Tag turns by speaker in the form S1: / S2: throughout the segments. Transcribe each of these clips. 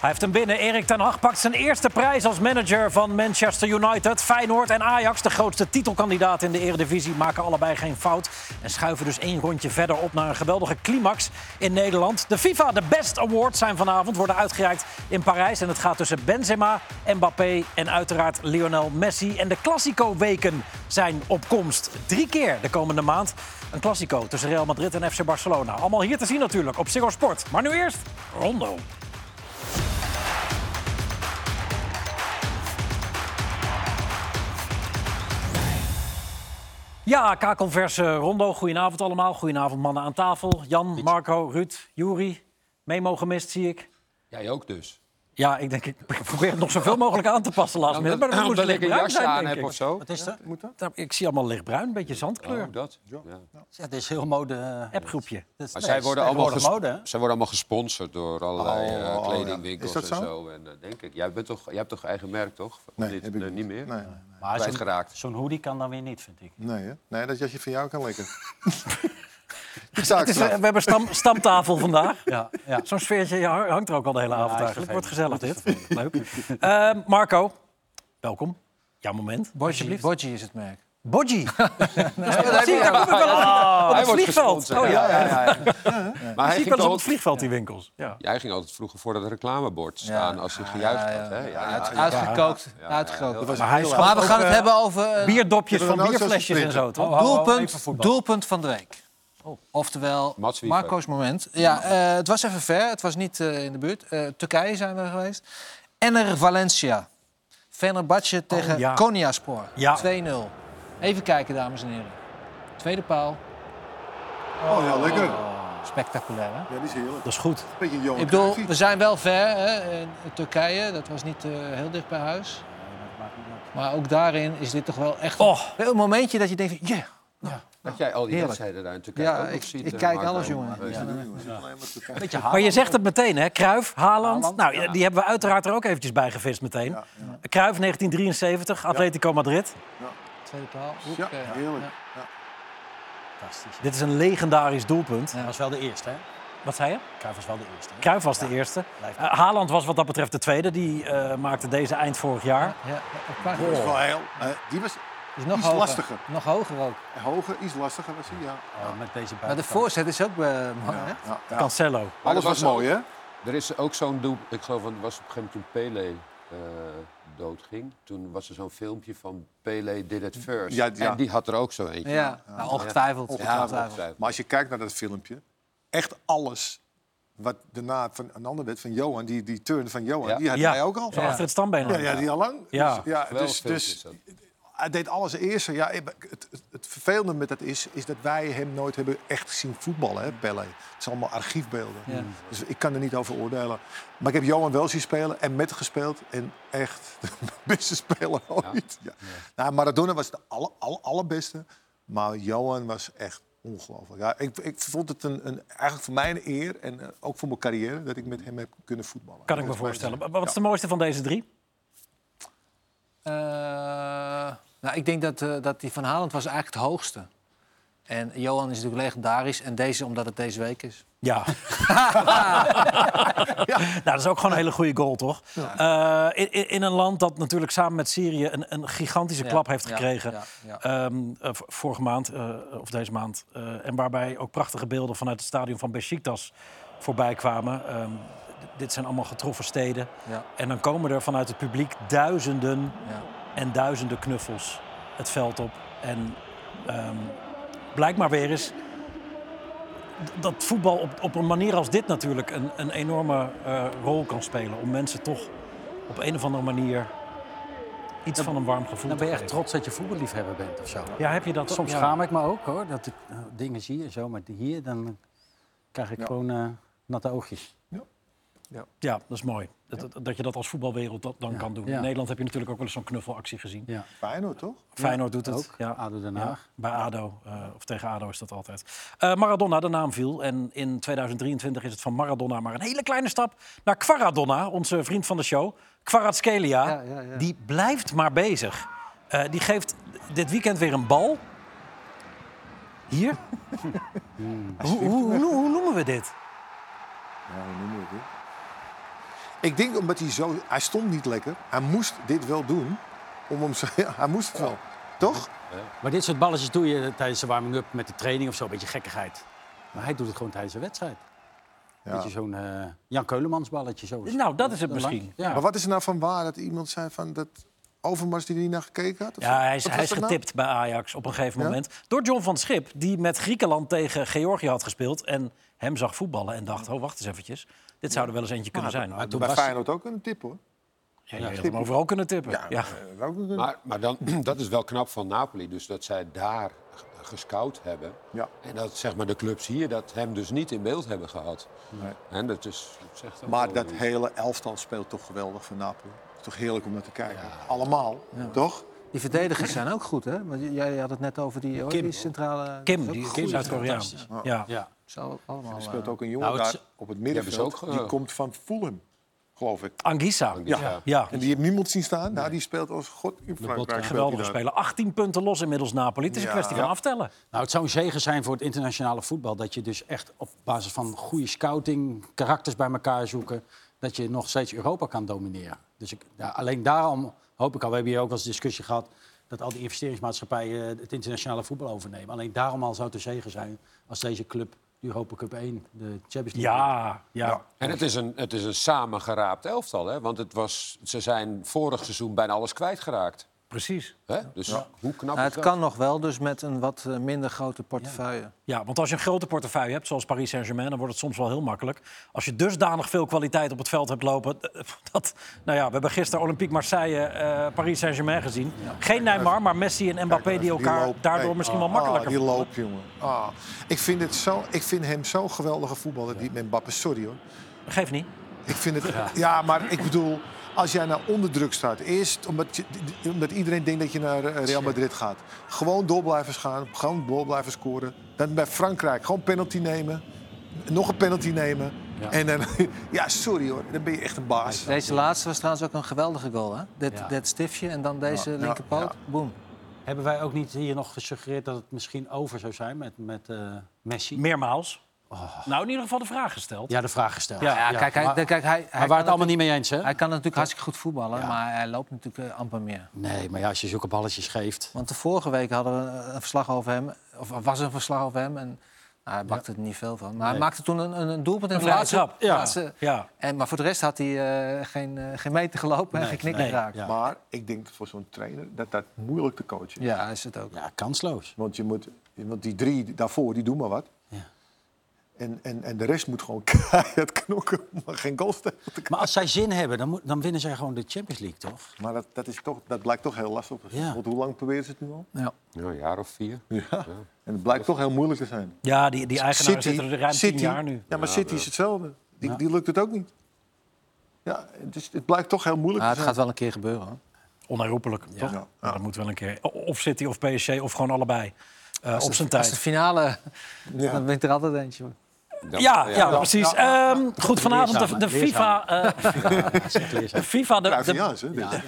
S1: Hij heeft hem binnen. Erik ten Hag pakt zijn eerste prijs als manager van Manchester United. Feyenoord en Ajax, de grootste titelkandidaat in de Eredivisie, maken allebei geen fout. En schuiven dus één rondje verder op naar een geweldige climax in Nederland. De FIFA, de Best Awards zijn vanavond, worden uitgereikt in Parijs. En het gaat tussen Benzema, Mbappé en uiteraard Lionel Messi. En de Classico-weken zijn op komst. Drie keer de komende maand. Een Classico tussen Real Madrid en FC Barcelona. Allemaal hier te zien natuurlijk op Ziggo Sport. Maar nu eerst Rondo. Ja, K-Converse Rondo. Goedenavond allemaal. Goedenavond mannen aan tafel. Jan, Marco, Ruud, Juri. Memo gemist, zie ik.
S2: Jij ook dus.
S1: Ja, ik denk, ik probeer het nog zoveel mogelijk aan te passen laatst
S2: Omdat-
S1: minute. Maar dat moet
S2: omdat Nou, ik een
S1: lichtbruin
S2: jas
S1: zijn,
S2: aan
S1: denk
S2: heb
S1: ik.
S2: of zo.
S3: Wat is dat? Moet dat?
S1: Nou, Ik zie allemaal lichtbruin, een beetje zandkleur.
S2: Oh, dat. Ja.
S3: Ja, dit is heel mode. eh,
S1: Appgroepje.
S3: dit is-
S2: Maar
S3: nee,
S2: zij
S3: het
S2: worden,
S3: is
S2: allemaal
S3: tegenwoordig
S2: ges-
S3: mode. hè?
S2: zij worden allemaal gesponsord door allerlei eh,
S4: Oh, oh, ja.
S2: kledingwinkels
S4: Is dat
S2: en
S4: zo?
S2: zo. En eh, denk ik, jij, bent toch, jij hebt toch eigen merk, toch? Of niet,
S4: heb ik
S2: Nee, niet meer.
S4: Nee, nee, nee.
S3: Maar zo'n-
S2: Kwijtgeraakt.
S3: Zo'n hoodie kan dan weer niet, vind ik.
S4: Nee, hè? nee, dat jasje van jou kan lekker. ik sta
S1: Het is, eh,
S4: straf.
S1: we hebben stam, stamtafel vandaag.
S3: Ja, ja.
S1: Zo'n sfeertje hangt er ook al de hele avond
S3: is
S1: eigenlijk. Wordt gezellig
S3: vervelend.
S1: dit. Leuk. Eh, Marco, welkom. Jouw moment, alsjeblieft.
S3: Bodgy is het merk.
S1: Bodgy. Dat zie ik daar kom ik wel op- op
S2: Hij
S1: het
S2: wordt
S1: vliegveld.
S2: gesponsord.
S1: Oh ja,
S2: Ja,
S1: ja.
S2: Maar hij
S1: Zie ik wel eens op
S2: ging, toch
S1: het
S2: altijd,
S1: vliegveld, die winkels. Ja.
S2: jij ging altijd vroeger voor dat reclamebord staan als hij gejuicht had. Hè? Ja, Ah, ja, ja.
S5: Uitgekookt. uitgekookt.
S1: Maar hij
S5: maar
S1: schoot
S5: we gaan
S1: ook,
S5: het
S1: eh,
S5: hebben over eh,
S1: bierdopjes van
S4: Hebben we nou zo'n
S1: bierflesjes en zo,
S4: sprinter?
S5: Oh,
S1: toch?
S5: doelpunt, doelpunt van de week. Oftewel,
S2: Oh. Mats Wiever.
S5: Marco's moment. Ja, eh, het was even ver. Het was niet eh, in de buurt. Eh, Turkije zijn we geweest. Enner Valencia. Fenerbahce tegen
S1: Oh, ja.
S5: Konyaspor.
S1: Ja.
S5: 2-0. Even kijken, dames en heren. Tweede paal.
S4: Oh ja, lekker.
S5: Spectaculair, hè?
S4: Ja, die is heerlijk.
S1: Dat is goed.
S4: Een beetje een Johan
S5: Ik bedoel,
S4: Cruijffie.
S5: we zijn wel ver. Hè? in Turkije, dat was niet eh, heel dicht bij huis. Maar ook daarin is dit toch wel echt
S1: Oh.
S5: een momentje dat je denkt... van, Ja,
S2: Dat jij al die
S5: Heerlijk.
S2: wedstrijden daar in Turkije
S5: Ja,
S2: ook nog
S5: ik,
S2: ziet,
S5: ik
S2: eh,
S5: kijk
S2: Marco.
S5: alles, jongen.
S2: Weet je.
S5: Ja.
S1: Maar je zegt het meteen, hè? Kruif, Haaland. nou, ja, die hebben we uiteraard er ook eventjes bij gevist meteen. Kruif, 1973, Atletico Madrid.
S5: Tweede paal.
S4: Ja,
S5: Hoek, eh,
S4: heerlijk.
S5: ja.
S3: Fantastisch.
S1: Dit is een legendarisch doelpunt.
S3: Dat was wel de eerste, hè?
S1: Wat zei je?
S3: Kruijff was wel de eerste. hè?
S1: Kruif was de eerste.
S3: blijft-
S1: Eh, Haaland was wat dat betreft de tweede. Die eh, maakte deze eind vorig jaar.
S5: Ja, ja, het paard
S4: Dat is wel heel... eh, die was
S5: is nog
S4: Iets
S5: hoger.
S4: lastiger.
S5: Nog hoger ook.
S4: hoger, iets lastiger was hij, ja.
S3: Oh, met deze
S5: Maar de
S3: buitenkant.
S5: voorzet is ook eh, mooi, hè?
S4: ja, ja.
S1: Cancelo.
S2: Maar
S4: Alles
S2: er
S4: was
S2: ook-
S4: mooi, hè?
S2: Er is ook zo'n doel. Ik geloof dat het was op een gegeven moment toen Pele eh, doodging. Toen was er zo'n filmpje van Pele did it first.
S4: Ja, ja.
S2: En die had er ook zo eentje.
S5: Ja, Nou, ongetwijfeld. ongetwijfeld.
S2: ongetwijfeld.
S4: Maar als je kijkt naar dat filmpje, echt alles wat daarna van een ander werd, van Johan, die, die turn van Johan,
S2: Ja.
S4: die had
S1: Ja.
S4: hij ook al.
S1: Zo achter het standbeen.
S4: Ja,
S1: aan.
S4: ja, die al lang.
S1: Ja.
S4: Dus, ja,
S2: Geweldig
S4: dus,
S2: filmpje
S4: dus
S2: is dat.
S4: hij deed alles eerste. Ja, het, het, het vervelende met dat is, is dat wij hem nooit hebben echt zien voetballen, hè, Pelle. Het zijn allemaal archiefbeelden.
S5: Ja.
S4: Dus ik kan er niet over oordelen. Maar ik heb Johan wel zien spelen en met gespeeld. En echt de beste speler ooit. Ja. Nou, Maradona was de aller, aller, allerbeste. Maar Johan was echt ongelooflijk. Ja, ik, ik vond het een, een, eigenlijk voor mij een eer en eh, ook voor mijn carrière... dat ik met hem heb kunnen voetballen.
S1: Kan ik me voorstellen. Maar Wat is de mooiste van deze drie?
S5: Eh, nou, ik denk dat, eh, dat die van Haaland was eigenlijk het hoogste. En Johan is natuurlijk legendarisch. En deze omdat het deze week is.
S1: Ja. Nou, dat is ook gewoon een hele goede goal, toch? Eh, in- in, in een land dat natuurlijk samen met Syrië een, een gigantische klap heeft
S5: ja,
S1: gekregen.
S5: ja, ja.
S1: Ehm, eh, v- vorige maand, eh, of deze maand. eh, en waarbij ook prachtige beelden vanuit het stadion van Besiktas voorbij kwamen. Ehm, d- dit zijn allemaal getroffen steden.
S5: Ja.
S1: En dan komen er vanuit het publiek duizenden
S5: Ja.
S1: en duizenden knuffels het veld op. En ehm blijkbaar weer eens d- dat voetbal op, op een manier als dit natuurlijk een, een enorme eh, rol kan spelen. Om mensen toch op een of andere manier iets van een warm gevoel
S3: Dan
S1: te
S3: ben je echt
S1: geven.
S3: trots dat je voetballiefhebber bent of zo.
S1: Ja, heb je dat
S3: Soms
S1: ja.
S3: schaam ik me ook hoor, dat ik eh, dingen zie en zo. Maar hier, dan krijg ik gewoon eh, natte oogjes.
S1: Ja, dat is mooi. Dat, dat- dat je dat als voetbalwereld dat dan kan doen.
S3: ja.
S1: In Nederland heb je natuurlijk ook wel eens zo'n knuffelactie gezien.
S3: Ja.
S4: Feyenoord, toch?
S1: Feyenoord doet het.
S3: Ook,
S1: Ja.
S3: ADO Den
S1: Ja,
S3: Haag.
S1: bij ADO, eh, of tegen ADO is dat altijd. Eh, Maradona, de naam viel. En in 2023 is het van Maradona maar een hele kleine stap naar Quaradonna, onze vriend van de show. Kvaratskhelia,
S5: Ja, ja, ja.
S1: die blijft maar bezig. Eh, die geeft dit weekend weer een bal. Hier? hoe, hoe, hoe, hoe noemen we dit?
S4: Nou, Ja, hoe noemen we het? hè? Ik denk omdat hij zo... Hij stond niet lekker. Hij moest dit wel doen. Om hem zo, ja, hij moest het wel. Toch?
S3: Maar dit soort balletjes doe je eh, tijdens de warming-up met de training of zo. Een beetje gekkigheid. Maar hij doet het gewoon tijdens de wedstrijd.
S4: Ja.
S3: Beetje zo'n eh, Jan Keulemans balletje. Zo.
S1: Nou, dat is het misschien.
S3: Ja.
S4: Maar wat is er nou van waar dat iemand zei van dat Overmars die er niet naar gekeken had? Of
S1: Ja,
S4: zo?
S1: hij is,
S4: Wat
S1: hij is
S4: was dat nou?
S1: getipt bij Ajax op een gegeven
S4: Ja?
S1: moment. Door John van Schip, die met Griekenland tegen Georgië had gespeeld. En hem zag voetballen en dacht, oh, wacht eens eventjes. Dit zou er wel eens eentje kunnen zijn. Maar toen
S4: Bij
S3: was-
S4: Feyenoord ook een tip hoor.
S1: ja, je had hem overal kunnen tippen. Ja,
S4: Eh, ook een-
S2: Maar, maar dan, dat is wel knap van Napoli, dus dat zij daar g- gescout hebben.
S4: Ja.
S2: En dat zeg maar, de clubs hier dat hem dus niet in beeld hebben gehad.
S4: Nee.
S2: En dat is, dat zegt ook
S4: Maar
S2: wel
S4: dat
S2: iets.
S4: hele elftal speelt toch geweldig voor Napoli. Het is toch heerlijk om naar te kijken. Allemaal, toch?
S5: Die verdedigers zijn ook goed, hè? Want j- jij had het net over die, oh,
S3: Kim.
S5: die centrale...
S1: Kim,
S5: dat is ook
S1: die
S5: goed.
S1: Kim Zuid-Koreaan. Ja.
S3: Ja.
S5: Zo allemaal,
S4: Er
S5: eh,
S4: speelt ook een jongen
S3: nou, het
S4: daar
S3: is-
S4: op het
S2: Die hebben
S4: middenveld.
S2: ze ook, eh,
S4: die komt van Fulham, geloof
S1: Ah.
S4: ik.
S1: Angissa.
S2: Ja.
S1: Ja. ja.
S4: En die heeft niemand zien staan. Nou, die speelt als god in Frankrijk. speelt
S1: Geweldige
S4: die daar.
S1: speler. 18 punten los inmiddels Napoli. Het is een
S4: Ja.
S1: kwestie van aftellen.
S3: Nou, het zou een zegen zijn voor het internationale voetbal. Dat je dus echt op basis van goede scouting, karakters bij elkaar zoeken. Dat je nog steeds Europa kan domineren. Dus ik, ja, alleen daarom hoop ik al. We hebben hier ook wel eens discussie gehad. Dat al die investeringsmaatschappijen eh, het internationale voetbal overnemen. Alleen daarom al zou het een zegen zijn als deze club de Europa Cup 1, de Champions League.
S1: Ja, ja.
S2: En het is een, het is een samengeraapt elftal, hè? want het was, ze zijn vorig seizoen bijna alles kwijtgeraakt.
S1: precies.
S2: Hè? Dus hoe knap
S5: nou,
S2: is
S5: het
S2: dat?
S5: kan nog wel, dus met een wat eh, minder grote portefeuille.
S1: Ja, want als je een grote portefeuille hebt, zoals Paris Saint-Germain, dan wordt het soms wel heel makkelijk. Als je dusdanig veel kwaliteit op het veld hebt lopen. eh, Dat, nou ja, we hebben gisteren Olympique Marseille, eh, Paris Saint-Germain gezien. Geen Neymar, maar Messi en Mbappé
S4: Kijk,
S1: die
S4: die
S1: elkaar
S4: loop.
S1: daardoor
S4: Nee.
S1: misschien wel
S4: Ah,
S1: makkelijker.
S4: die loopt, jongen. Ah, ik, vind het zo, ik vind hem zo'n geweldige voetballer, die Mbappé. Sorry hoor.
S1: Geef niet.
S4: Ik vind het... Ja. maar ik bedoel, als jij nou onder druk staat... Eerst omdat, je, omdat iedereen denkt dat je naar eh, Real Madrid gaat. Gewoon door blijven gaan, gewoon door blijven scoren. Dan bij Frankrijk gewoon penalty nemen. Nog een penalty nemen. En dan... Ja, sorry hoor. Dan ben je echt een baas.
S5: Deze laatste was trouwens ook een geweldige goal, hè? Dit,
S3: Ja.
S5: dit stiftje en dan deze linkerpoot. Boom.
S3: Hebben wij ook niet hier nog gesuggereerd dat het misschien over zou zijn met, met eh, Messi?
S1: Meermaals.
S4: Ah.
S1: Nou, in ieder geval de vraag gesteld.
S3: Ja, de vraag gesteld.
S5: Ja, kijk, hij,
S3: maar,
S5: kijk, hij, hij,
S3: maar
S5: kan
S3: waar het allemaal
S5: natuurlijk-
S3: niet mee eens, hè?
S5: hij kan natuurlijk hartstikke goed voetballen, maar hij loopt natuurlijk eh, amper meer.
S3: Nee, maar ja, als je zulke balletjes geeft.
S5: Want de vorige week hadden we een- een verslag over hem, of was er een verslag over hem en nou, hij maakte er niet veel van. Maar hij maakte toen een, een, een doelpunt in
S1: Een
S5: de
S1: vrije
S5: laatste.
S1: trap, ja.
S5: laatste-
S1: Ja.
S5: En, maar voor de rest had hij eh, geen, eh, geen meter gelopen en geen knikken
S1: nee,
S5: geraakt.
S3: ja.
S5: Ja.
S4: Maar ik denk voor zo'n trainer dat dat moeilijk te coachen is.
S5: hij is het ook.
S3: Ja, kansloos.
S4: Want, je moet, want die drie daarvoor, die doen maar wat.
S3: Ja.
S4: En, en, en de rest moet gewoon keihard knokken om maar geen goals tegen te krijgen.
S3: Maar als zij zin hebben, dan, moet- dan winnen zij gewoon de Champions League, toch?
S4: Maar dat, dat, is toch, dat blijkt toch heel lastig.
S3: Ja.
S4: Want hoe lang proberen ze het nu al?
S5: Ja.
S2: Nou, een jaar of vier.
S4: Ja. En het blijkt toch heel moeilijk te zijn.
S1: Ja, die, die eigenaren zitten nou, er ruim
S4: City,
S1: 10 jaar nu.
S4: Ja, maar City is hetzelfde. Die, die lukt het ook niet. Ja, het, is, het blijkt toch heel moeilijk
S5: Maar
S4: te
S5: het
S4: zijn.
S5: gaat wel een keer gebeuren. hoor.
S1: Onherroepelijk, toch?
S4: Ja.
S1: Maar Dat moet wel een keer. O- Of City of PSG of gewoon allebei. Eh, op zijn
S5: Als de
S1: tijd.
S5: finale,
S4: Ja.
S5: dan wint er altijd eentje. hoor.
S2: Dan-
S1: Ja, ja, precies. Ehm, goed, vanavond de,
S3: Leerzaam,
S1: de
S3: hè?
S1: FIFA, eh, de FIFA, de, de,
S4: Cruyffiaans, hè? dit.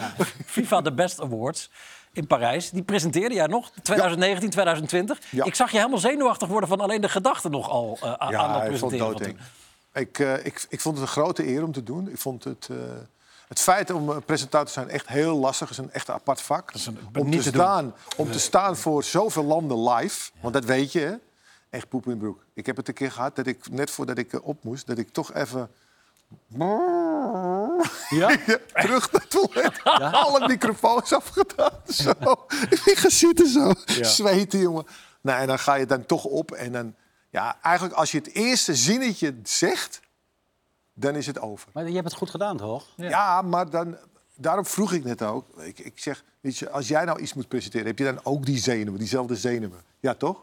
S1: FIFA The Best Awards in Parijs. Die presenteerde jij nog, 2019, 2020.
S4: Ja.
S1: Ik zag je helemaal zenuwachtig worden van alleen de gedachte nogal eh aan- aan dat
S4: hij
S1: presenteren.
S4: vond het
S1: van
S4: doodeng.
S1: toen.
S4: Ik, eh, ik, ik vond het een grote eer om te doen. Ik vond het, eh, het feit om eh, presentator te zijn echt heel lastig. Het is een echt een apart vak. om,
S1: niet te
S4: te
S1: doen.
S4: staan, om te staan voor zoveel landen live, want dat weet je, hè? echt poep in de broek. Ik heb het een keer gehad dat ik net voordat ik eh, op moest, dat ik toch even.
S3: Ja?
S4: Terug naar het toilet. Alle microfoons afgedaan. Zo. Ik ging gaan zitten zo. Zweten, jongen. Nou, en dan ga je dan toch op. En dan, ja, eigenlijk als je het eerste zinnetje zegt, dan is het over.
S3: Maar je hebt het goed gedaan, toch?
S4: Ja, maar dan, daarom vroeg ik net ook. Ik, ik zeg, weet je, als jij nou iets moet presenteren, heb je dan ook die zenuwen, diezelfde zenuwen? Ja, toch?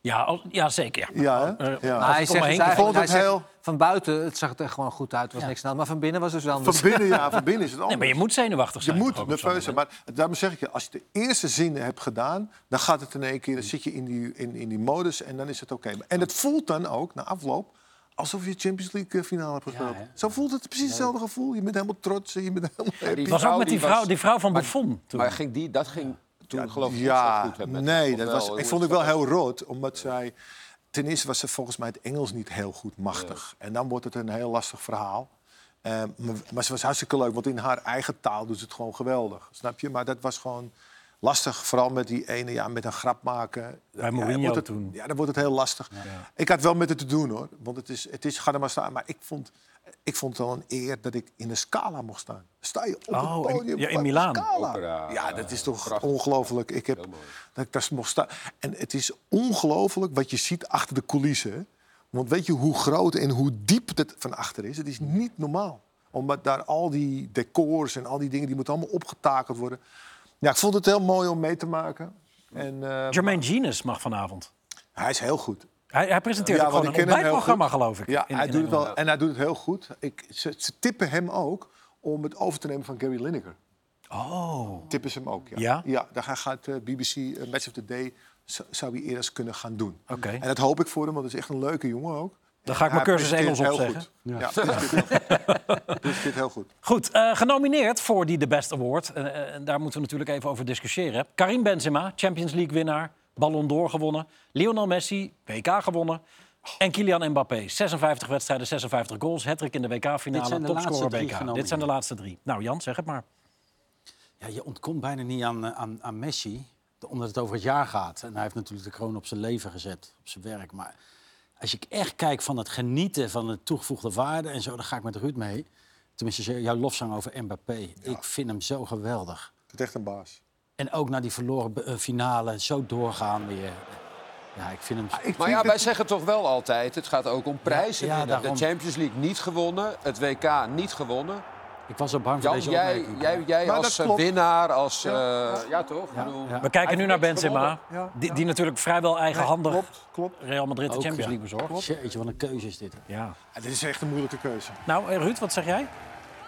S1: Ja, al- ja, zeker. Ja.
S4: Ja, hè? Ja.
S5: Maar hij
S1: het om me
S5: zegt
S1: heen
S5: het eigenlijk,
S4: vond
S5: hij
S4: het
S5: zegt,
S4: heel-
S5: van buiten het zag het er gewoon goed uit, er was niks aan. de hand. Maar van binnen was het wel
S4: Van
S5: anders.
S4: binnen, ja, van binnen is het
S1: Nee,
S4: anders.
S1: maar je moet zenuwachtig
S4: Je
S1: zijn. toch
S4: moet
S1: ook op zo'n
S4: nerveus zijn.
S1: moment?
S4: Maar daarom zeg ik je, als je de eerste zinnen hebt gedaan... dan gaat het in één keer,
S1: Mm.
S4: dan zit je in die, in, in die modus en dan is het oké. En het voelt dan ook, na afloop, alsof je Champions League eh, finale hebt gespeeld.
S3: hè?
S4: Zo voelt het precies hetzelfde gevoel. Je bent helemaal trots en je bent helemaal happy.
S2: die
S1: Het was ook
S2: vrouw
S1: met die
S2: die
S1: vrouw,
S2: was-
S1: die vrouw van
S2: Maar-
S1: Buffon. Toen.
S2: Maar ging die, dat ging toen geloof ik niet zo
S4: Ja,
S2: goed. hè, met-
S4: nee,
S2: of
S4: dat
S2: wel,
S4: was,
S2: hoe
S4: ik
S2: is
S4: vond het
S2: dat?
S4: wel heel rot, omdat zij... Ten eerste was ze volgens mij het Engels niet heel goed machtig. En dan wordt het een heel lastig verhaal. Eh, maar, maar ze was hartstikke leuk, want in haar eigen taal doet ze het gewoon geweldig. Snap je? Maar dat was gewoon lastig. Vooral met die ene, ja, met een grap maken. Ja, dan
S1: Mourinho
S4: wordt het,
S1: toen.
S4: Ja, dan wordt het heel lastig. Ik had wel met het te doen hoor. Want het is, het is ga er maar staan. Maar ik vond, ik vond het wel een eer dat ik in een scala mocht staan. Sta je op
S1: Oh,
S4: het
S1: in-
S4: podium
S1: ja, in
S4: bij de
S1: Milaan.
S4: Scala?
S2: Opera,
S4: ja, dat is toch
S2: prachtig.
S4: ongelooflijk. Ik heb dat ik daar mocht staan. En het is ongelooflijk wat je ziet achter de coulissen. hè. Want weet je hoe groot en hoe diep dat van achter is? Het is niet normaal. Omdat daar al die decors en al die dingen, die moeten allemaal opgetakeld worden. Ja, ik vond het heel mooi om mee te maken. En, eh,
S1: Jermaine Genius mag vanavond.
S4: hij is heel goed.
S1: Hij, hij presenteert
S4: Ja,
S1: ook gewoon
S4: want
S1: een
S4: ik ken hem heel
S1: ontbijtprogramma, geloof ik.
S4: Ja,
S1: in-
S4: hij
S1: in
S4: doet het
S1: Engeland.
S4: al, en hij doet het heel goed. Ik, ze, ze tippen hem ook om het over te nemen van Gary Lineker.
S1: Oh,
S4: Tippen ze hem ook, ja.
S1: Ja?
S4: daar gaat- gaat eh, BBC eh, Match of the Day zo- zou hij eerst kunnen gaan doen.
S1: Oké.
S4: En dat hoop ik voor hem, want het is echt een leuke jongen ook.
S1: Dan ga ik mijn
S4: Hij
S1: cursus Engels
S4: presteert heel
S1: opzeggen.
S4: goed. Ja, presteert heel goed. Presteert heel goed.
S1: Goed, eh, genomineerd voor die The Best Award. En, eh, en daar moeten we natuurlijk even over discussiëren. Karim Benzema, Champions League winnaar. Ballon d'Or gewonnen. Lionel Messi, WK gewonnen. En Kylian Mbappé, 56 wedstrijden, 56 goals. Hattrick in de
S3: Dit zijn
S1: WK-finale,
S3: de
S1: topscorer
S3: laatste drie
S1: WK. Dit
S3: genomineerden.
S1: zijn de laatste drie. Nou Jan, zeg het maar.
S3: Ja, je ontkomt bijna niet aan, eh, aan, aan Messi, de- omdat het over het jaar gaat. En hij heeft natuurlijk de kroon op zijn leven gezet, op zijn werk. Maar als ik echt kijk van het genieten van de toegevoegde waarde en zo, dan ga ik met Ruud mee. Tenminste, jouw lofzang over Mbappé. Ik vind hem zo geweldig.
S4: Het is echt een baas.
S3: En ook naar die verloren be- eh, finale, zo doorgaan weer. Ja, Ah, ik vind hem...
S2: Maar ja, wij zeggen toch wel altijd, het gaat ook om prijzen.
S3: Ja, ja,
S2: winnen.
S3: daarom.
S2: de Champions League niet gewonnen, het WK niet gewonnen.
S3: Ik was zo bang voor
S2: Jan,
S3: deze
S2: jij,
S3: opmerking.
S2: jij, jij
S4: Maar
S2: als
S4: dat
S2: eh,
S4: klopt.
S2: winnaar, als... eh, Ja, toch? Ik bedoel,
S3: ja.
S1: We kijken nu
S2: heeft
S1: naar
S2: niks
S1: Benzema,
S4: gewonnen. Ja,
S1: die, die natuurlijk vrijwel eigenhandig
S4: Klopt, klopt.
S1: Real Madrid de
S3: Ook,
S1: Champions
S3: ja.
S1: League bezorgt.
S3: Jeetje, wat een keuze is dit.
S1: Ja.
S4: Ja, dit is echt een moeilijke keuze.
S1: Nou eh, Ruud, wat zeg jij?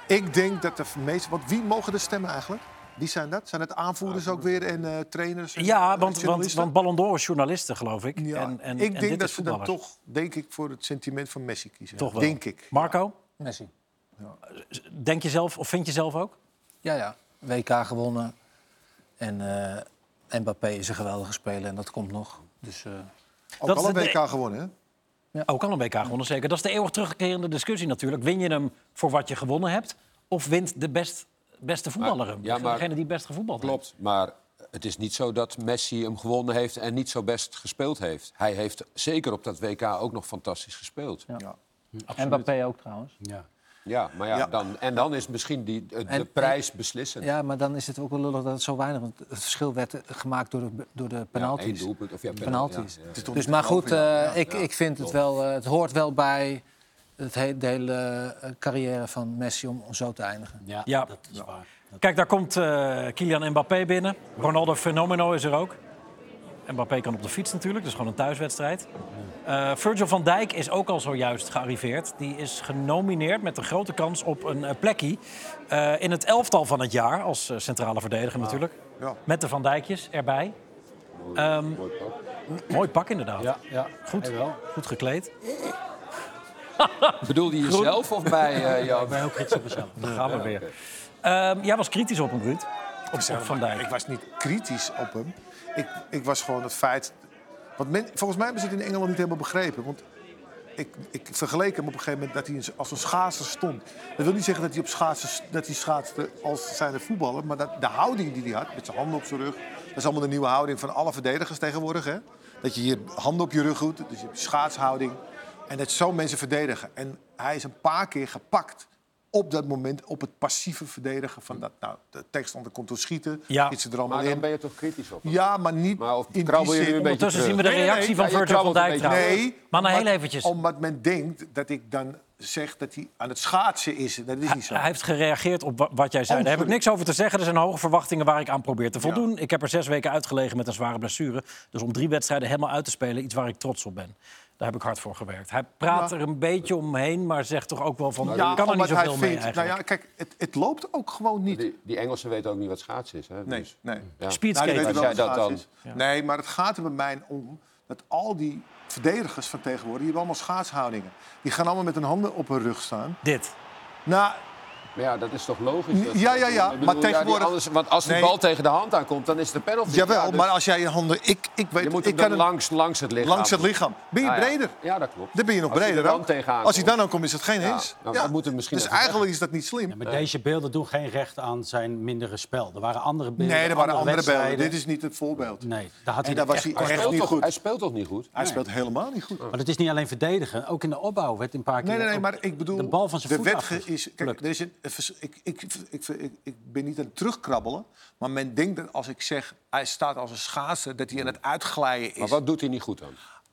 S4: Ik denk dat de meeste... Want wie mogen er stemmen eigenlijk? Wie zijn dat? Zijn het aanvoerders ook weer en eh, trainers? En,
S1: Ja,
S4: eh,
S1: want, want,
S4: journalisten?
S1: want Ballon d'Or is journalisten, geloof ik.
S4: Ja,
S1: en, en,
S4: ik
S1: en
S4: denk
S1: dit
S4: dat
S1: is
S4: ze dan
S1: voetballers.
S4: toch, denk ik, voor het sentiment van Messi kiezen.
S1: Toch wel.
S4: Denk ik.
S1: Marco,
S5: Messi.
S1: denk je zelf, of vind je zelf ook?
S5: Ja, ja. WK gewonnen. En eh, Mbappé is een geweldige speler en dat komt nog. Dus eh,
S4: Ook
S1: Dat
S4: al
S1: is e-
S4: een
S1: de-
S4: WK gewonnen, hè?
S1: Ook al Oh, een WK gewonnen, zeker. Dat is de eeuwig terugkerende discussie natuurlijk. Win je hem voor wat je gewonnen hebt? Of wint de best, beste voetballer hem?
S2: ja, maar-
S1: Degene die het best gevoetbald heeft.
S2: Klopt, maar het is niet zo dat Messi hem gewonnen heeft en niet zo best gespeeld heeft. Hij heeft zeker op dat WK ook nog fantastisch gespeeld. Ja,
S5: Mbappé ook trouwens.
S3: Ja.
S2: maar ja,
S4: Ja.
S2: Dan, en dan is misschien die, de, de
S5: En-
S2: prijs beslissend.
S5: Ja, maar dan is het ook wel lullig dat het zo weinig... Want het verschil werd eh, gemaakt door de, door de
S2: Ja, één
S5: penalties.
S2: doelpunt, of ja, penalty,
S5: penalties.
S2: ja,
S4: Het is toch
S5: Dus,
S4: niet
S5: maar
S4: te geloven,
S5: goed,
S4: ja.
S5: eh, ik, ik vind het wel... eh, het hoort wel bij het he- de hele eh, carrière van Messi om, om zo te eindigen.
S3: Ja,
S1: Ja.
S3: dat is waar.
S1: Kijk, daar komt eh, Kylian Mbappé binnen. Ronaldo Fenomeno is er ook. Mbappé kan op de fiets natuurlijk, dus gewoon een thuiswedstrijd. Eh, Virgil van Dijk is ook al zojuist gearriveerd. Die is genomineerd met een grote kans op een eh, plekje eh, in het elftal van het jaar als eh, centrale verdediger natuurlijk.
S4: Ja.
S1: Met de Van Dijkjes erbij. Ehm,
S2: Mooi pak.
S1: Mooi pak inderdaad.
S3: Ja, ja.
S1: Goed,
S3: Jawel.
S1: goed gekleed.
S2: Bedoelde je jezelf of bij eh jou?
S3: Ik ben heel kritisch op mezelf.
S1: Daar gaan we weer. Ehm, jij was kritisch op hem, Ruud. Op, op Van
S4: Ik
S1: Dijk.
S4: was niet kritisch op hem. Ik, ik was gewoon het feit... Want men- volgens mij hebben ze het in Engeland niet helemaal begrepen. Want ik, ik vergeleek hem op een gegeven moment dat hij een- als een schaatser stond. Dat wil niet zeggen dat hij, op schaatsen, dat hij schaatste als zijn voetballer. Maar dat, de houding die hij had, met zijn handen op zijn rug... Dat is allemaal de nieuwe houding van alle verdedigers tegenwoordig. Hè? Dat je je handen op je rug doet, dus je hebt schaatshouding. En dat zo mensen verdedigen. En hij is een paar keer gepakt op dat moment op het passieve verdedigen. Van dat, nou, de tegenstander komt door schieten,
S1: Ja.
S4: iets ze er allemaal
S2: Maar dan
S4: in.
S2: ben je toch kritisch op hem?
S4: Ja, maar niet
S2: Maar of
S4: in die
S2: krabbel je nu
S4: zin...
S2: een beetje
S1: Ondertussen zien we de
S4: eh,
S2: terug? Nee, nee,
S1: reactie
S2: nee.
S1: van
S2: Ja, je
S1: Virgil van
S2: krabbelt een
S1: Dijk
S2: beetje.
S1: trouwens.
S4: Nee,
S1: Maar nou heel
S4: omdat-
S1: eventjes.
S4: Omdat men denkt dat ik dan zeg dat hij aan het schaatsen is. Dat is niet zo.
S1: Nou, Hij heeft gereageerd op wa- wat jij zei.
S4: Oh,
S1: Daar heb ik
S4: sorry.
S1: niks over te zeggen. Er zijn hoge verwachtingen waar ik aan probeer te voldoen. Ik heb er zes weken uitgelegen met een zware blessure. Dus om drie wedstrijden helemaal uit te spelen, iets waar ik trots op ben. Daar heb ik hard voor gewerkt. Hij praat er een beetje omheen, maar zegt toch ook wel van... ik kan er niet
S4: Nou, omdat hij
S1: zoveel mee
S4: vindt-
S1: eigenlijk.
S4: Nou ja, kijk, het, het loopt ook gewoon niet.
S2: Die, die Engelsen weten ook niet wat schaatsen is. Hè?
S4: Nee,
S2: Dus,
S4: nee.
S2: ja.
S1: Speedskater.
S4: Nou, die
S2: Als
S4: weten
S2: jij
S4: wel
S2: dat
S4: wat
S2: dan...
S4: schaats is. Nee, maar het gaat er bij mij om dat al die verdedigers van tegenwoordig... die hebben allemaal schaatshoudingen. Die gaan allemaal met hun handen op hun rug staan.
S1: Dit.
S4: Nou,
S2: Maar ja, dat is toch logisch? dat ze
S4: Ja,
S2: dat
S4: ja,
S2: doen?
S4: ja,
S2: Ik bedoel,
S4: maar
S2: die
S4: tegenwoordig-
S2: anders- want als die
S4: Nee.
S2: bal tegen de hand aankomt, dan is het een penalty.
S4: Jawel,
S2: Ja, dus
S4: maar als jij je handen... Ik, ik weet,
S2: je moet
S4: ik
S2: hem
S4: kan
S2: dan
S4: hem-
S2: langs, langs het lichaam.
S4: langs het lichaam. Ben je
S2: Ah, ja.
S4: breder?
S2: Ja, dat klopt.
S4: Dan ben je nog
S2: Als hij er
S4: breder
S2: dan
S4: ook.
S2: tegenaan
S4: Als hij
S2: komt.
S4: dan ook komt, is het geen hens.
S2: nou, dat moet het misschien
S4: dus
S2: even
S4: eigenlijk is dat niet slim.
S3: Ja, maar deze beelden doen geen recht aan zijn mindere spel. Er waren andere beelden.
S4: Nee, er waren andere beelden.
S3: wedstrijden.
S4: Dit is niet het voorbeeld.
S3: Nee, daar had
S4: En
S3: hij
S4: daar
S3: het
S4: was
S3: echt-
S4: hij
S2: Hij
S4: echt
S2: speelt
S4: niet
S2: toch- Hij
S4: goed.
S2: speelt toch niet goed?
S4: Hij speelt helemaal niet goed.
S3: Maar het is niet alleen verdedigen, ook in de opbouw werd een paar keer...
S4: Nee, nee, nee,
S3: ook
S4: maar ik bedoel...
S3: De bal van zijn
S4: de
S3: voet
S4: wet
S3: afge-
S4: ge- is, kijk, er is een, een vers- ik, ik, ik, ik, ik ben niet aan het terugkrabbelen. Maar men denkt dat als ik zeg... hij staat als een schaatser, dat hij aan het uitglijden
S2: Maar
S4: is.
S2: wat doet hij niet goed dan?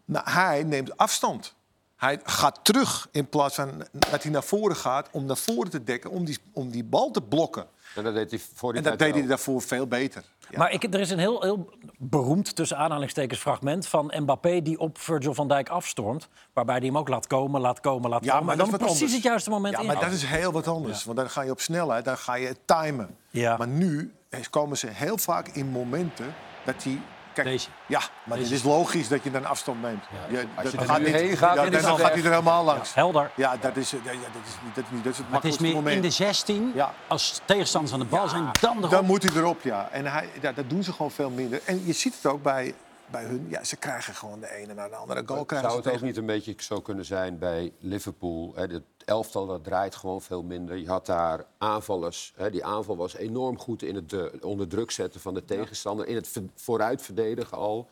S4: Nou, hij neemt afstand. Hij gaat terug in plaats van dat hij naar voren gaat... om naar voren te dekken, om die, om die bal te blokken.
S2: En dat deed hij voor die
S4: En dat
S2: tijd
S4: deed hij
S2: wel.
S4: daarvoor veel beter. Ja.
S1: Maar ik, er is een heel, heel beroemd, tussen aanhalingstekens, fragment van Mbappé... die op Virgil van Dijk afstormt. Waarbij hij hem ook laat komen, laat komen, laat
S4: Ja,
S1: komen.
S4: maar
S1: en
S4: dat
S1: dan
S4: is wat
S1: precies
S4: anders.
S1: het juiste moment
S4: Ja,
S1: in.
S4: maar dat is heel wat anders. Want dan ga je op snelheid, dan ga je timen.
S1: Ja.
S4: Maar nu komen ze heel vaak in momenten dat die... Kijk,
S3: Deze.
S4: Ja, maar het is logisch dat je dan afstand neemt. Ja.
S2: Als je
S4: dat
S2: er
S4: gaat
S2: nu
S4: niet-
S2: heen gaat,
S4: ja,
S2: dan
S4: dan
S2: is het
S4: gaat hij
S2: weg.
S4: er helemaal langs. Ja,
S1: Helder.
S4: dat, is, ja, ja, dat, is, niet- dat, is, niet- dat is het
S3: Maar het is
S4: makkelijkste
S3: meer in
S4: moment.
S3: de 16,
S4: Ja.
S3: als tegenstanders aan de bal zijn, dan de
S4: Dan moet hij erop, ja. En hij, ja, dat doen ze gewoon veel minder. En je ziet het ook bij, bij hun. Ja, ze krijgen gewoon de ene naar de andere goal. Krijgen
S2: Zou het
S4: ze
S2: ook
S4: tegen.
S2: niet een beetje zo kunnen zijn bij Liverpool? Hè? Het elftal dat draait gewoon veel minder. Je had daar aanvallers. Hè? Die aanval was enorm goed in het eh, onder druk zetten van de tegenstander. In het ver- vooruit verdedigen al.